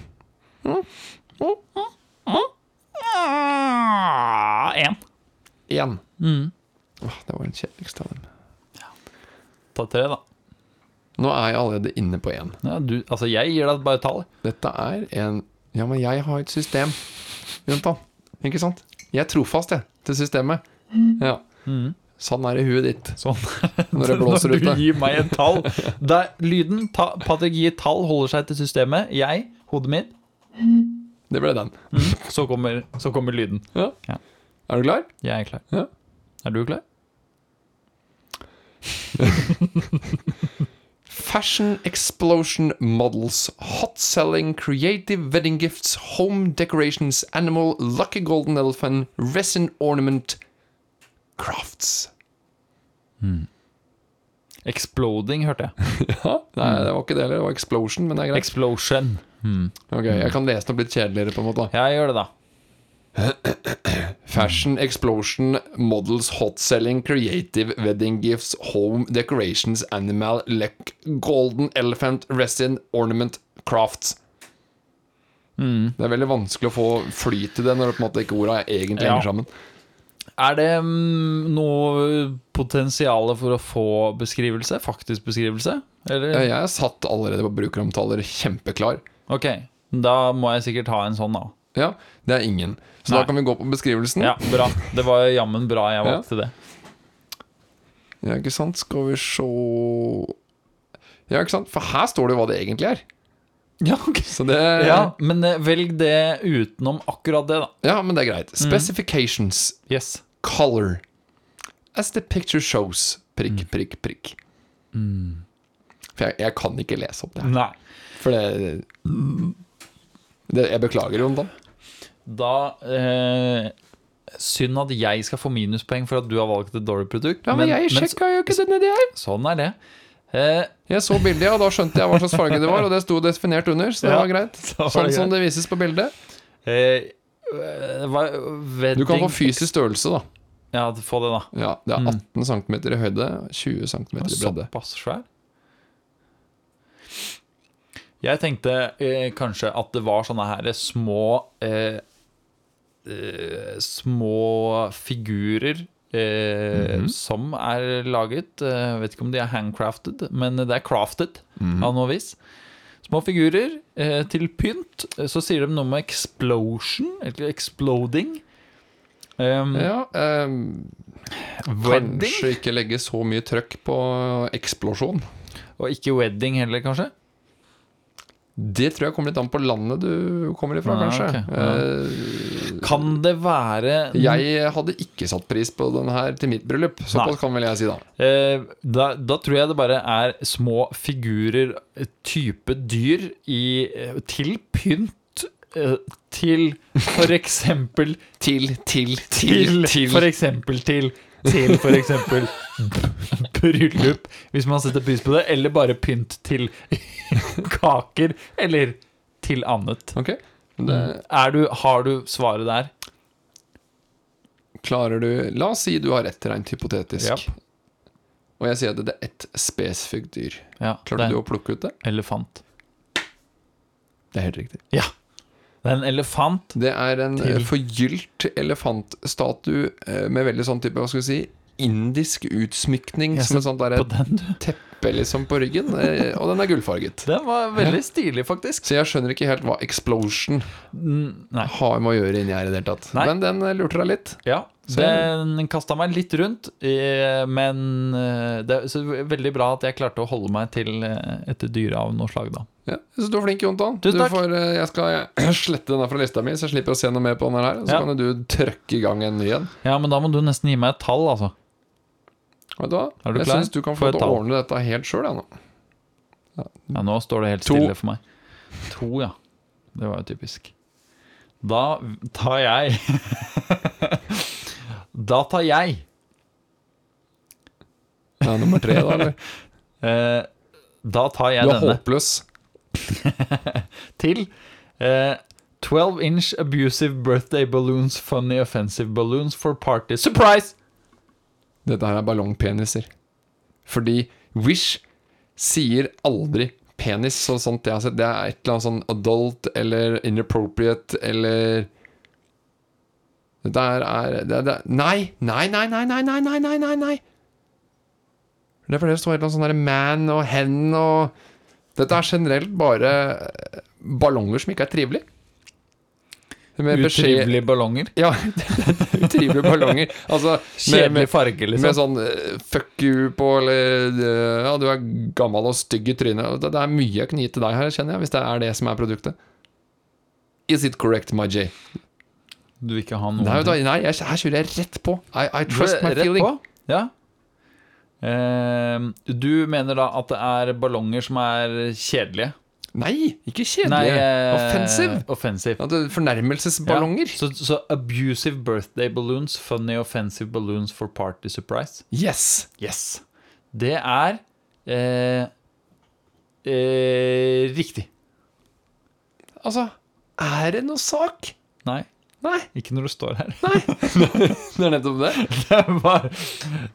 [SPEAKER 2] Én.
[SPEAKER 1] Én.
[SPEAKER 2] Mm.
[SPEAKER 1] Åh, det var den kjedeligste av dem.
[SPEAKER 2] Ta tre, da.
[SPEAKER 1] Nå er jeg allerede inne på én.
[SPEAKER 2] Ja, du, altså, jeg gir deg bare tall.
[SPEAKER 1] Dette er en Ja, men jeg har et system rundt da. Ikke sant? Jeg er trofast, jeg, til systemet.
[SPEAKER 2] Mm.
[SPEAKER 1] Ja. Sånn er det i huet ditt
[SPEAKER 2] Sånn.
[SPEAKER 1] når det blåser
[SPEAKER 2] Når du
[SPEAKER 1] ute.
[SPEAKER 2] gir meg et tall. Da, lyden ta, Patrick gir tall, holder seg til systemet. Jeg, hodet mitt.
[SPEAKER 1] Det ble den.
[SPEAKER 2] Så kommer, så kommer lyden.
[SPEAKER 1] Ja.
[SPEAKER 2] Ja.
[SPEAKER 1] Er du klar?
[SPEAKER 2] Jeg er klar.
[SPEAKER 1] Ja.
[SPEAKER 2] Er du klar?
[SPEAKER 1] Fashion explosion models, hot selling, creative wedding gifts, home decorations, animal, lucky golden elephant, resin ornament, crafts.
[SPEAKER 2] Exploding, hørte jeg.
[SPEAKER 1] Ja, nei, det var ikke det heller. Det var explosion, men det er greit.
[SPEAKER 2] Explosion.
[SPEAKER 1] Ok, Jeg kan lese den opp litt kjedeligere, på en måte. da.
[SPEAKER 2] Ja, gjør det, da.
[SPEAKER 1] Fashion explosion models, hot selling, creative wedding gifts, home decorations, animal, luck, golden elephant, resin ornament, crafts.
[SPEAKER 2] Mm.
[SPEAKER 1] Det er veldig vanskelig å få flyt i det når det på en måte ikke orda egentlig
[SPEAKER 2] Ja.
[SPEAKER 1] henger sammen.
[SPEAKER 2] Er det mm, noe potensial for å få beskrivelse? Faktisk beskrivelse? Eller?
[SPEAKER 1] Jeg er satt allerede på brukeromtaler kjempeklar.
[SPEAKER 2] Ok, da må jeg sikkert ha en sånn, da.
[SPEAKER 1] Ja, Det er ingen. Så
[SPEAKER 2] Nei.
[SPEAKER 1] da kan vi gå på beskrivelsen.
[SPEAKER 2] Ja, bra. Det var jammen bra jeg valgte det.
[SPEAKER 1] Ja, ikke sant? Skal vi se Ja, ikke sant? For her står det jo hva det egentlig er.
[SPEAKER 2] Ja, ok.
[SPEAKER 1] Så det
[SPEAKER 2] Ja, men eh, velg det utenom akkurat det, da.
[SPEAKER 1] Ja, men det er
[SPEAKER 2] Mm.
[SPEAKER 1] greit. Specifications.
[SPEAKER 2] Yes.
[SPEAKER 1] color as the picture shows prikk,
[SPEAKER 2] Mm.
[SPEAKER 1] prikk, prikk. For jeg, jeg kan ikke lese opp det her.
[SPEAKER 2] Nei.
[SPEAKER 1] For det, det Jeg beklager, Jon. da.
[SPEAKER 2] Da eh, Synd at jeg skal få minuspoeng for at du har valgt et dårlig produkt.
[SPEAKER 1] Ja, men, jeg
[SPEAKER 2] så-
[SPEAKER 1] sjekka jo ikke det nedi her.
[SPEAKER 2] sånn er det. Eh,
[SPEAKER 1] Jeg så bildet, og da skjønte jeg hva slags farge det var, og det sto definert under, så det
[SPEAKER 2] Ja,
[SPEAKER 1] var greit.
[SPEAKER 2] så var det
[SPEAKER 1] sånn som
[SPEAKER 2] greit.
[SPEAKER 1] det vises på bildet.
[SPEAKER 2] eh, hva,
[SPEAKER 1] Du kan få
[SPEAKER 2] wedding-
[SPEAKER 1] fysisk størrelse, da.
[SPEAKER 2] Ja, få det, da.
[SPEAKER 1] Ja, Det
[SPEAKER 2] Mm.
[SPEAKER 1] er 18 cm i høyde, 20 cm i bredde.
[SPEAKER 2] Såpass svær? Jeg tenkte eh, kanskje at det var sånne her små eh, eh, Små figurer eh,
[SPEAKER 1] Mhm.
[SPEAKER 2] som er laget. Eh, vet ikke om de er handcrafted, men det er crafted
[SPEAKER 1] Mhm.
[SPEAKER 2] av noe vis. Små figurer eh, til pynt. Eh, Så sier de noe med explosion, eller exploding. Um,
[SPEAKER 1] Ja, ehm,
[SPEAKER 2] wedding,
[SPEAKER 1] kanskje ikke legge så mye trøkk på eksplosjon.
[SPEAKER 2] og ikke wedding heller, kanskje?
[SPEAKER 1] Det tror jeg kommer litt an på landet du kommer ifra,
[SPEAKER 2] Ja,
[SPEAKER 1] kanskje.
[SPEAKER 2] Ah, ok, Kan det være
[SPEAKER 1] Eh, Jeg hadde ikke satt pris på den her til mitt bryllup. Såpass
[SPEAKER 2] Nei.
[SPEAKER 1] kan vel jeg si, da.
[SPEAKER 2] Eh, da, da tror jeg det bare er små figurer, eh, type dyr, i, eh, til pynt eh, til for eksempel
[SPEAKER 1] Til, til,
[SPEAKER 2] til, For eksempel til til for eksempel bryllup, hvis man setter pris på det, eller bare pynt til kaker, eller til annet.
[SPEAKER 1] Ok. Det,
[SPEAKER 2] Er du, har du svaret der? Mm.
[SPEAKER 1] klarer du La oss si du har rett, rent hypotetisk.
[SPEAKER 2] Japp.
[SPEAKER 1] Og jeg sier at det er ett spesifikt dyr.
[SPEAKER 2] Ja,
[SPEAKER 1] Klarte
[SPEAKER 2] det
[SPEAKER 1] du
[SPEAKER 2] er
[SPEAKER 1] å plukke ut det?
[SPEAKER 2] en elefant.
[SPEAKER 1] Det er helt riktig.
[SPEAKER 2] Ja, det er en elefant.
[SPEAKER 1] Det er en
[SPEAKER 2] Til.
[SPEAKER 1] eh, forgylt elefantstatue eh, med veldig sånn type, hva skal vi si, indisk utsmykning
[SPEAKER 2] Jeg
[SPEAKER 1] som
[SPEAKER 2] så
[SPEAKER 1] et sånt der
[SPEAKER 2] På den, du.
[SPEAKER 1] teppe liksom på ryggen, eh, og den er gullfarget.
[SPEAKER 2] Den var veldig stilig, faktisk.
[SPEAKER 1] Så jeg skjønner ikke helt hva explosion
[SPEAKER 2] Mm, Nei.
[SPEAKER 1] har med å gjøre inni her i det hele tatt.
[SPEAKER 2] Nei.
[SPEAKER 1] Men den eh, lurte deg litt.
[SPEAKER 2] Ja,
[SPEAKER 1] Så-
[SPEAKER 2] den kasta meg litt rundt, eh, men eh, det er så veldig bra at jeg klarte å holde meg til eh, et dyr av noe slag, da.
[SPEAKER 1] Ja, jeg synes du var flink, Jontan.
[SPEAKER 2] Tusen
[SPEAKER 1] Du
[SPEAKER 2] takk.
[SPEAKER 1] får, eh, jeg skal eh, slette denne fra lista mi, så jeg slipper å se noe mer på denne her. Så
[SPEAKER 2] Ja.
[SPEAKER 1] kan du trøkke i gang en ny en.
[SPEAKER 2] Ja, men da må du nesten gi meg et tall, altså.
[SPEAKER 1] Vet du hva?
[SPEAKER 2] Er du
[SPEAKER 1] jeg
[SPEAKER 2] klar?
[SPEAKER 1] synes du kan
[SPEAKER 2] Få
[SPEAKER 1] få
[SPEAKER 2] et
[SPEAKER 1] til å
[SPEAKER 2] tall.
[SPEAKER 1] ordne dette helt sjøl, jeg nå.
[SPEAKER 2] Ja, nå står det helt
[SPEAKER 1] To.
[SPEAKER 2] stille for meg. To, ja. Det var jo typisk. Da tar jeg Da tar jeg
[SPEAKER 1] Det er nummer tre, da, eller?
[SPEAKER 2] eh, Da tar jeg
[SPEAKER 1] Du er
[SPEAKER 2] denne
[SPEAKER 1] håpløs.
[SPEAKER 2] til eh, 12 inch abusive birthday balloons, funny offensive balloons for party. Surprise!
[SPEAKER 1] Dette her er ballongpeniser. Fordi Wish sier aldri penis, så sant jeg har sett. Det er et eller annet sånn adult eller inappropriate eller Dette her er det, det, Nei! Nei, nei, nei, nei, nei, nei, nei, nei, nei! Det er fordi det står et eller annet sånn der man og hen og Dette er generelt bare ballonger som ikke er trivelige. Med beskjed
[SPEAKER 2] Utrivelige ballonger.
[SPEAKER 1] Ja, utrivelige ballonger. Altså, med- med-
[SPEAKER 2] Kjedelig farge, liksom.
[SPEAKER 1] med sånn eh, fuck you på Eller eh, ja, du er gammel og stygg i trynet. Det, det er mye jeg kunne gitt til deg her, kjenner jeg, hvis det er det som er produktet. Is it correct, my J?
[SPEAKER 2] Du vil ikke ha noen
[SPEAKER 1] sånn- Nei, vet du hva, nei jeg, her kjører jeg rett på. I, I trust my
[SPEAKER 2] Mhm. Rett
[SPEAKER 1] feeling.
[SPEAKER 2] på. Ja. Ehm, du mener da at det er ballonger som er kjedelige?
[SPEAKER 1] Nei, ikke
[SPEAKER 2] Nei,
[SPEAKER 1] kjedelig.
[SPEAKER 2] eh,
[SPEAKER 1] Offensive. Altså,
[SPEAKER 2] offensive.
[SPEAKER 1] At det er fornærmelsesballonger.
[SPEAKER 2] Ja. Så, så abusive birthday balloons, funny offensive balloons for party surprise.
[SPEAKER 1] Yes.
[SPEAKER 2] Yes. Det er eh, eh, riktig.
[SPEAKER 1] Altså, er det noe sak?
[SPEAKER 2] Nei,
[SPEAKER 1] Nei.
[SPEAKER 2] ikke når du står her.
[SPEAKER 1] Det er nettopp det.
[SPEAKER 2] Det er bare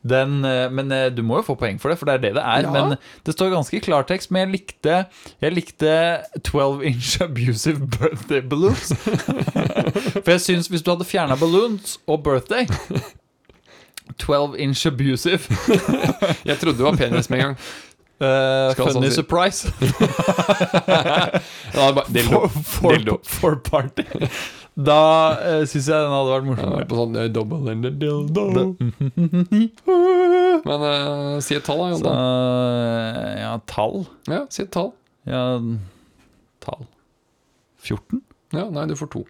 [SPEAKER 2] den, eh, men eh, du må jo få poeng for det, for det er det det er.
[SPEAKER 1] Ja.
[SPEAKER 2] Men det står ganske i klartekst. Men jeg likte, jeg likte 12 inch abusive birthday balloons. for jeg syns hvis du hadde fjerna balloons og birthday 12 inch abusive.
[SPEAKER 1] Jeg trodde det var penis med en gang.
[SPEAKER 2] eh,
[SPEAKER 1] Skal sånn
[SPEAKER 2] funny
[SPEAKER 1] si.
[SPEAKER 2] surprise.
[SPEAKER 1] Ja, det er bare, dildo.
[SPEAKER 2] For, for,
[SPEAKER 1] Dildo.
[SPEAKER 2] for party. Da uh, syns jeg den hadde vært
[SPEAKER 1] Ja,
[SPEAKER 2] morsommere.
[SPEAKER 1] på sånn eh, double-ended dildo. Men eh, si et tall, da. Jon,
[SPEAKER 2] Så,
[SPEAKER 1] da.
[SPEAKER 2] eh, ja, tall.
[SPEAKER 1] Ja, si et tall.
[SPEAKER 2] Ja, tall 14?
[SPEAKER 1] Ja, nei, du får to.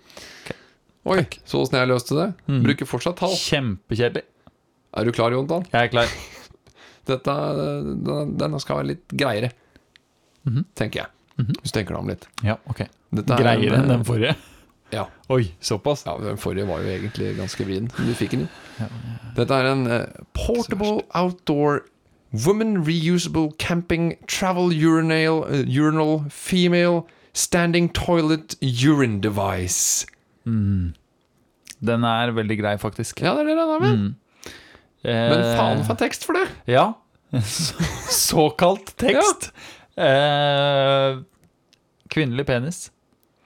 [SPEAKER 1] Oi, så åssen jeg løste det?
[SPEAKER 2] Mhm.
[SPEAKER 1] Bruker fortsatt tall.
[SPEAKER 2] Kjempekjedelig.
[SPEAKER 1] Er du klar, Jontan?
[SPEAKER 2] Jeg er klar.
[SPEAKER 1] Dette, den- denne skal være litt greiere,
[SPEAKER 2] Mhm.
[SPEAKER 1] tenker jeg. Hvis du tenker deg om litt.
[SPEAKER 2] Ja, ok
[SPEAKER 1] Dette er
[SPEAKER 2] Greiere enn den
[SPEAKER 1] forrige?
[SPEAKER 2] forrige?
[SPEAKER 1] Ja.
[SPEAKER 2] Oi, såpass?
[SPEAKER 1] ja, den forrige var jo egentlig ganske vrien. men Du fikk den jo. Dette er en eh, portable outdoor woman reusable camping travel urinal, eh, urinal female standing toilet urine device.
[SPEAKER 2] Den er veldig grei, faktisk.
[SPEAKER 1] Ja, det er det den er med. Men
[SPEAKER 2] Eh,
[SPEAKER 1] faen for tekst for det!
[SPEAKER 2] Ja. Så- Såkalt tekst. Eh, kvinnelig penis.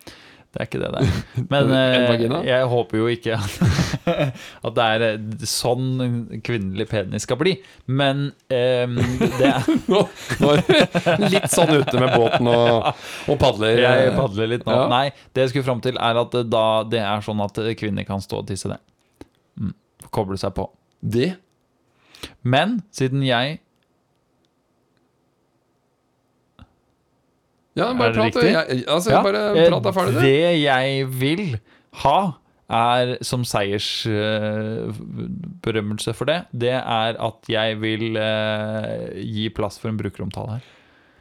[SPEAKER 2] Det er ikke det det er. Men
[SPEAKER 1] En
[SPEAKER 2] eh,
[SPEAKER 1] vagina?
[SPEAKER 2] jeg håper jo ikke at, at det er eh, sånn kvinnelig penis skal bli. Men eh, det er
[SPEAKER 1] Nå, nå er du litt sånn ute med båten og, og padler.
[SPEAKER 2] Jeg padler litt nå.
[SPEAKER 1] Ja.
[SPEAKER 2] Nei, det jeg skulle fram til, er at det da det er sånn at kvinner kan stå og tisse ned. Mm. Koble seg på.
[SPEAKER 1] Det
[SPEAKER 2] Men siden jeg
[SPEAKER 1] Ja, bare
[SPEAKER 2] Er det
[SPEAKER 1] prat. du.
[SPEAKER 2] riktig?
[SPEAKER 1] Jeg, altså,
[SPEAKER 2] Ja,
[SPEAKER 1] bare
[SPEAKER 2] eh,
[SPEAKER 1] prat deg ferdig, du.
[SPEAKER 2] Det jeg vil ha, er som seiersberømmelse for det, det er at jeg vil eh, gi plass for en brukeromtale her.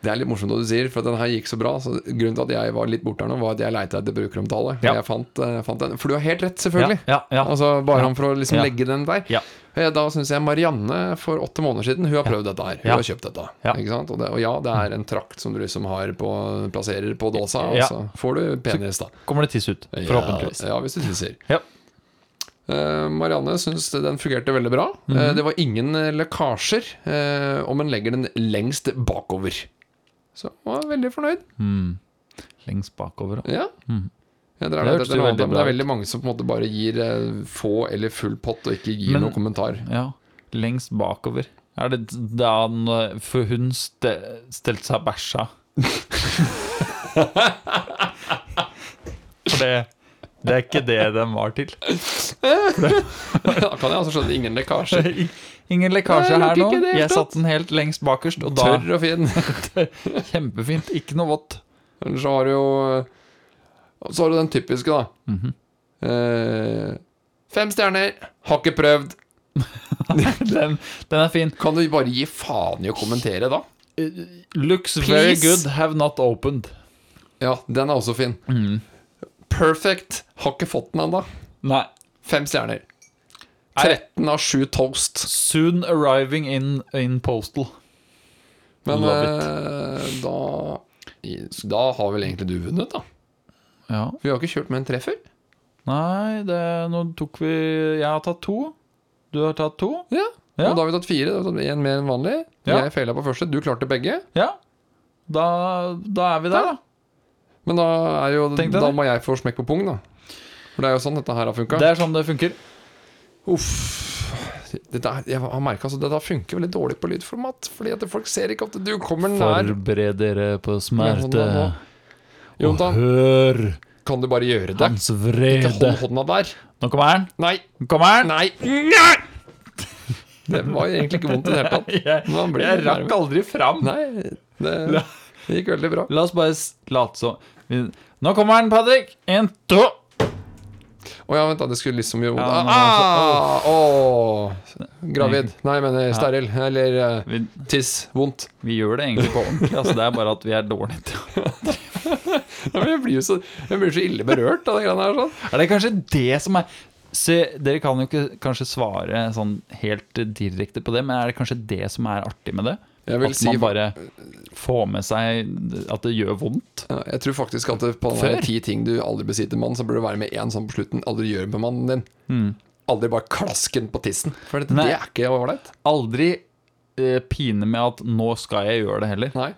[SPEAKER 1] Det er litt morsomt hva du sier, for den her gikk så bra. Så grunnen til at jeg var litt borte her nå, var at jeg leita etter brukeromtale.
[SPEAKER 2] Ja.
[SPEAKER 1] Og Jeg fant, eh, fant den. For du har helt rett, selvfølgelig.
[SPEAKER 2] Ja, ja, ja.
[SPEAKER 1] Altså, bare
[SPEAKER 2] Ja.
[SPEAKER 1] om for å liksom
[SPEAKER 2] Ja.
[SPEAKER 1] legge den der.
[SPEAKER 2] Ja.
[SPEAKER 1] Eh, Da syns jeg Marianne for åtte måneder siden Hun har prøvd dette her. Hun
[SPEAKER 2] Ja.
[SPEAKER 1] har kjøpt dette.
[SPEAKER 2] Ja.
[SPEAKER 1] Ikke sant? Og, det, og ja, det er en trakt som du liksom har på, plasserer på dåsa, og
[SPEAKER 2] Ja.
[SPEAKER 1] så får du penis, da.
[SPEAKER 2] Kommer det tiss ut? Forhåpentligvis.
[SPEAKER 1] Ja, ja hvis du tisser.
[SPEAKER 2] Ja.
[SPEAKER 1] Eh, Marianne syns den fungerte veldig bra. Eh,
[SPEAKER 2] Mhm.
[SPEAKER 1] det var ingen eh, lekkasjer eh, om en legger den lengst bakover. Så jeg var veldig fornøyd.
[SPEAKER 2] Mm. Lengst bakover. da.
[SPEAKER 1] Ja.
[SPEAKER 2] Mhm.
[SPEAKER 1] Jeg drar litt
[SPEAKER 2] Det hørtes
[SPEAKER 1] etter noe
[SPEAKER 2] jo
[SPEAKER 1] annet, men
[SPEAKER 2] veldig
[SPEAKER 1] det er
[SPEAKER 2] bra ut.
[SPEAKER 1] veldig mange som på en måte bare gir eh, få eller full pott og ikke gir
[SPEAKER 2] Men-
[SPEAKER 1] noen kommentar.
[SPEAKER 2] Ja, lengst bakover. Er det da han eh, For hun ste, stelte seg og bæsja. For det, det er ikke det den var til.
[SPEAKER 1] da kan jeg altså skjønne ingen lekkasjer.
[SPEAKER 2] Ingen lekkasje
[SPEAKER 1] Nei, nok
[SPEAKER 2] her nå.
[SPEAKER 1] ikke i det hele
[SPEAKER 2] Jeg
[SPEAKER 1] tatt.
[SPEAKER 2] satte den helt lengst bakerst, og da
[SPEAKER 1] Tørr og fin.
[SPEAKER 2] Kjempefint. Ikke noe vått.
[SPEAKER 1] Ellers så har du jo eh, Så har du den typiske, da.
[SPEAKER 2] Mhm.
[SPEAKER 1] Eh, fem stjerner, har ikke prøvd.
[SPEAKER 2] Den, den er fin.
[SPEAKER 1] Kan du bare gi faen i å kommentere, da?
[SPEAKER 2] Looks very
[SPEAKER 1] Please.
[SPEAKER 2] good, have not opened.
[SPEAKER 1] Mm. Ja, den er også fin. perfect. Har ikke fått den ennå.
[SPEAKER 2] Nei.
[SPEAKER 1] Fem stjerner.
[SPEAKER 2] Nei.
[SPEAKER 1] 13 av 7 toast.
[SPEAKER 2] Soon arriving in, in postal.
[SPEAKER 1] Men
[SPEAKER 2] Love
[SPEAKER 1] eh, da Da har vel egentlig du vunnet, da.
[SPEAKER 2] Ja.
[SPEAKER 1] Vi har ikke kjørt med en treffer.
[SPEAKER 2] Nei, det, nå tok vi Jeg har tatt to. Du har tatt to.
[SPEAKER 1] Ja.
[SPEAKER 2] Ja.
[SPEAKER 1] Og da har vi tatt fire. da har vi tatt En mer enn vanlig.
[SPEAKER 2] Ja.
[SPEAKER 1] Jeg feila på første. Du klarte begge.
[SPEAKER 2] Ja. Da, da er vi der, da.
[SPEAKER 1] Men da, er jo,
[SPEAKER 2] Tenk deg
[SPEAKER 1] da
[SPEAKER 2] det.
[SPEAKER 1] må jeg få smekk på pung, da. For det er jo sånn dette her har funka.
[SPEAKER 2] Det er sånn det funker.
[SPEAKER 1] Uff. Dette, er- jeg har merket, altså, dette funker veldig dårlig på lydformat. Fordi at folk ser ikke at du kommer nær.
[SPEAKER 2] Forbered dere på
[SPEAKER 1] Med hånda nå. Jontan,
[SPEAKER 2] hør
[SPEAKER 1] kan du bare gjøre det? Ikke hold hånda der.
[SPEAKER 2] Nå kommer han.
[SPEAKER 1] Nei,
[SPEAKER 2] Nå kommer han.
[SPEAKER 1] nei, nei! Det var jo egentlig ikke vondt i det hele tatt.
[SPEAKER 2] Jeg,
[SPEAKER 1] Men han blir
[SPEAKER 2] jeg
[SPEAKER 1] nærmere.
[SPEAKER 2] rakk aldri fram.
[SPEAKER 1] Nei, det, det gikk veldig bra.
[SPEAKER 2] La oss bare s- late som. Vi- Nå kommer han, Patrick. En, to.
[SPEAKER 1] Å ja, vent, da. Det skulle liksom gjøre
[SPEAKER 2] Ja,
[SPEAKER 1] vondt.
[SPEAKER 2] men
[SPEAKER 1] Ah, åh. Gravid. Nei, jeg mener steril. Eller eh,
[SPEAKER 2] Vi,
[SPEAKER 1] tiss. Vondt.
[SPEAKER 2] vi gjør det egentlig på ordentlig. Altså, det er bare at vi er dårlige til å-
[SPEAKER 1] Ja, men Jeg blir jo så, jeg blir så ille berørt av det greiene her. sånn
[SPEAKER 2] Er det kanskje det som er Se, Dere kan jo ikke kanskje svare sånn helt direkte på det, men er det kanskje det som er artig med det?
[SPEAKER 1] Jeg vil
[SPEAKER 2] At
[SPEAKER 1] si
[SPEAKER 2] man bare får med seg at det gjør vondt?
[SPEAKER 1] Ja, Jeg tror faktisk at det på den her
[SPEAKER 2] Før?
[SPEAKER 1] ti ting du aldri besitter med mannen, så burde det være med én sånn på slutten. Aldri gjør med mannen din.
[SPEAKER 2] Hmm.
[SPEAKER 1] Aldri bare klasken på tissen. For det,
[SPEAKER 2] Nei.
[SPEAKER 1] det er ikke ålreit.
[SPEAKER 2] Aldri eh, pine med at 'nå skal jeg gjøre det' heller.
[SPEAKER 1] Nei.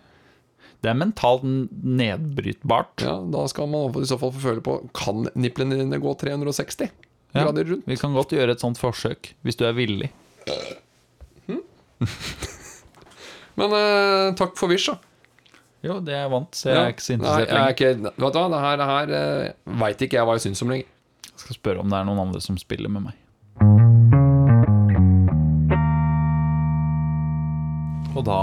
[SPEAKER 2] Det er mentalt n- nedbrytbart.
[SPEAKER 1] Ja, da skal man i så fall få føle på Kan nipplene dine gå 360
[SPEAKER 2] Ja.
[SPEAKER 1] grader rundt?
[SPEAKER 2] Vi kan godt gjøre et sånt forsøk, hvis du er villig.
[SPEAKER 1] Men eh, takk for wish, da.
[SPEAKER 2] Jo, det er jeg vant, så jeg
[SPEAKER 1] Ja.
[SPEAKER 2] er ikke så
[SPEAKER 1] Nei, jeg
[SPEAKER 2] interessert
[SPEAKER 1] er
[SPEAKER 2] lenger.
[SPEAKER 1] ikke, vet du hva, det her, det her uh, veit ikke jeg hva jeg syns om lenger.
[SPEAKER 2] Jeg skal spørre om det er noen andre som spiller med meg. Og da,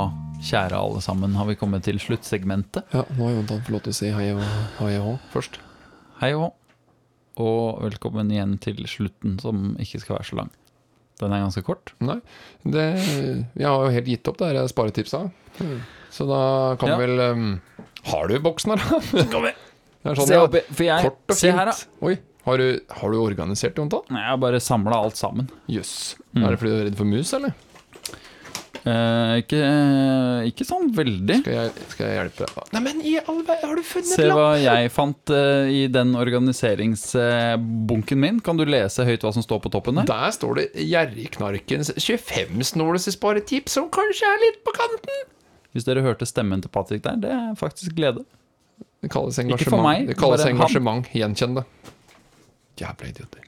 [SPEAKER 2] kjære alle sammen, har vi kommet til sluttsegmentet.
[SPEAKER 1] Ja, nå har Jontan fått lov til å si hei og hei og hå først.
[SPEAKER 2] Hei og hå. Og velkommen igjen til slutten, som ikke skal være så lang. Den er ganske kort.
[SPEAKER 1] Nei. Det, jeg har jo helt gitt opp det her sparetipsa. Så da kan
[SPEAKER 2] Ja.
[SPEAKER 1] vel ehm, Har du boksen her, da? Det er sånn,
[SPEAKER 2] Se,
[SPEAKER 1] ja.
[SPEAKER 2] opp, i- for jeg,
[SPEAKER 1] Kort og
[SPEAKER 2] se
[SPEAKER 1] fint.
[SPEAKER 2] her, da.
[SPEAKER 1] Oi, har du, har du organisert det, Jontan?
[SPEAKER 2] Nei, Jeg har bare samla alt sammen.
[SPEAKER 1] Jøss.
[SPEAKER 2] Mm.
[SPEAKER 1] Er det fordi du er redd for mus, eller?
[SPEAKER 2] Eh, ikke, ikke sånn veldig.
[SPEAKER 1] Skal jeg, skal jeg hjelpe deg? Nei, men i all verden, har du funnet
[SPEAKER 2] Se
[SPEAKER 1] lapp?
[SPEAKER 2] hva jeg fant eh, i den organiseringsbunken min. Kan du lese høyt hva som står på toppen der?
[SPEAKER 1] Der står det 'Gjerrigknarkens 25-snåleste sparetips', som kanskje er litt på kanten.
[SPEAKER 2] Hvis dere hørte stemmen til Patrick der, det er faktisk glede.
[SPEAKER 1] Det kalles engasjement.
[SPEAKER 2] Ikke for meg,
[SPEAKER 1] det kalles
[SPEAKER 2] bare han.
[SPEAKER 1] engasjement. Gjenkjenn det. Jævla idioter.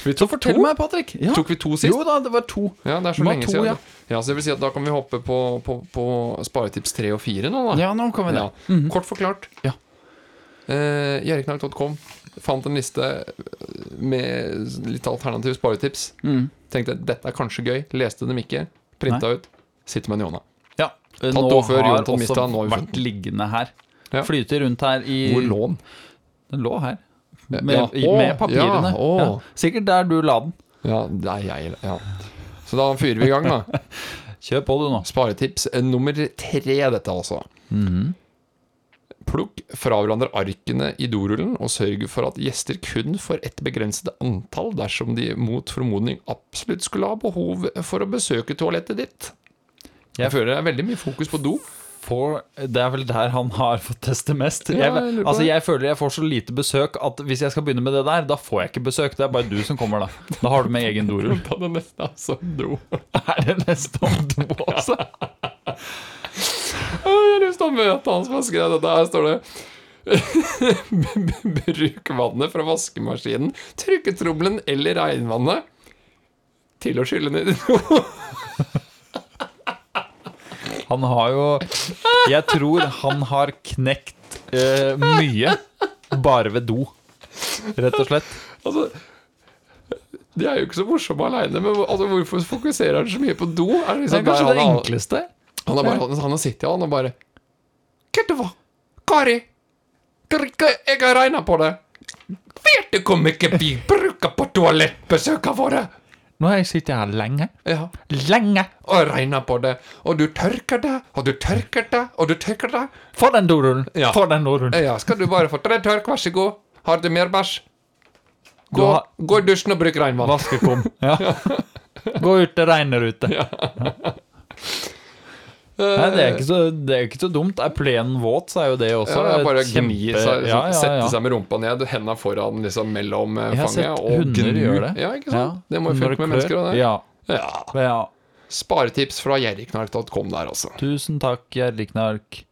[SPEAKER 2] Så fortell meg, Patrick. Ja.
[SPEAKER 1] Tok vi to sist?
[SPEAKER 2] Jo da, det var to.
[SPEAKER 1] Ja, det er så
[SPEAKER 2] Det var
[SPEAKER 1] lenge
[SPEAKER 2] to,
[SPEAKER 1] siden.
[SPEAKER 2] ja.
[SPEAKER 1] Ja. så det vil si at da kan vi hoppe på, på, på sparetips 3 og 4 nå, da.
[SPEAKER 2] Ja, nå kommer det.
[SPEAKER 1] Ah.
[SPEAKER 2] Mhm.
[SPEAKER 1] Ja. Kort forklart.
[SPEAKER 2] Ja.
[SPEAKER 1] Eh, Gjerriknark.com fant en liste eh, med litt alternative sparetips.
[SPEAKER 2] Mhm.
[SPEAKER 1] Tenkte dette er kanskje gøy. Leste dem ikke. Printa ut. Sitter med en i hånda.
[SPEAKER 2] Ja. Eh, Nå
[SPEAKER 1] over før
[SPEAKER 2] har
[SPEAKER 1] Jonathan mistet,
[SPEAKER 2] også
[SPEAKER 1] nå har vi funnet
[SPEAKER 2] vært liggende her.
[SPEAKER 1] Ja.
[SPEAKER 2] Flyter rundt her i
[SPEAKER 1] Hvor lå den?
[SPEAKER 2] Den lå her.
[SPEAKER 1] Ja,
[SPEAKER 2] Med,
[SPEAKER 1] ja.
[SPEAKER 2] i,
[SPEAKER 1] Å,
[SPEAKER 2] med papirene.
[SPEAKER 1] ja, å.
[SPEAKER 2] Sikkert der du la den.
[SPEAKER 1] Ja, det er jeg, ja. Så da fyrer vi i gang, da.
[SPEAKER 2] Kjør på, du, nå.
[SPEAKER 1] Sparetips eh, nummer tre, dette altså. Plukk fra hverandre arkene i dorullen, og sørg for at gjester kun får et begrenset antall dersom de mot formodning absolutt skulle ha behov for å besøke toalettet ditt. Jeg føler det er veldig mye fokus på do.
[SPEAKER 2] får, det er vel der han har fått teste mest.
[SPEAKER 1] Ja,
[SPEAKER 2] Jeg,
[SPEAKER 1] jeg lurer på
[SPEAKER 2] altså,
[SPEAKER 1] det.
[SPEAKER 2] jeg føler jeg får så lite besøk at hvis jeg skal begynne med det der, da får jeg ikke besøk. Det er bare du som kommer, da. Da har du med egen dorull.
[SPEAKER 1] Ta det neste, altså. Do.
[SPEAKER 2] Er det neste om do også?
[SPEAKER 1] altså. Å, Jeg har lyst til å møte han som har skrevet dette. Her står det Bruk vannet fra vaskemaskinen, trykketrommelen eller regnvannet til å skylle ned i do.
[SPEAKER 2] Han har jo Jeg tror han har knekt eh, mye bare ved do, rett og slett.
[SPEAKER 1] Altså, de er jo ikke så morsomme aleine, men altså, hvorfor fokuserer han så mye på do? Er det
[SPEAKER 2] Det
[SPEAKER 1] liksom
[SPEAKER 2] er kanskje
[SPEAKER 1] der
[SPEAKER 2] det
[SPEAKER 1] han har-
[SPEAKER 2] enkleste.
[SPEAKER 1] Han har bare han har sittet han og bare Vet du hva? Kari, drikke, jeg har regna på det. Vet du hvor mye vi bruker på toalettbesøkene våre?
[SPEAKER 2] Nå har jeg sittet her lenge.
[SPEAKER 1] Ja.
[SPEAKER 2] Lenge!
[SPEAKER 1] Og regna på det. Og du tørker det, og du tørker det, og du tørker det.
[SPEAKER 2] Få den dorullen!
[SPEAKER 1] Ja.
[SPEAKER 2] Få den dorullen!
[SPEAKER 1] Ja, skal du bare få tre tørk, vær så god. Har du mer bæsj? Gå,
[SPEAKER 2] Du har-
[SPEAKER 1] gå i dusjen og bruk regnvann.
[SPEAKER 2] Vaskekum. Ja. Gå ut, det regner ute. Nei, det er ikke så, det er ikke så dumt. Er plenen våt, så er jo det
[SPEAKER 1] Eh,
[SPEAKER 2] også
[SPEAKER 1] Ja, det er bare å
[SPEAKER 2] et
[SPEAKER 1] gni seg,
[SPEAKER 2] ja, ja,
[SPEAKER 1] sette
[SPEAKER 2] ja.
[SPEAKER 1] seg med rumpa ned, hendene foran liksom mellom eh,
[SPEAKER 2] Jeg har
[SPEAKER 1] fanget.
[SPEAKER 2] sett
[SPEAKER 1] og
[SPEAKER 2] hunder
[SPEAKER 1] gnu.
[SPEAKER 2] gjøre det.
[SPEAKER 1] Ja, ikke sant?
[SPEAKER 2] Ja,
[SPEAKER 1] Det må jo
[SPEAKER 2] når
[SPEAKER 1] funke med
[SPEAKER 2] klør.
[SPEAKER 1] mennesker og det.
[SPEAKER 2] Ja.
[SPEAKER 1] Ja.
[SPEAKER 2] ja.
[SPEAKER 1] Sparetips fra jerriknark.com der, altså.
[SPEAKER 2] Tusen takk, Gjerriknark.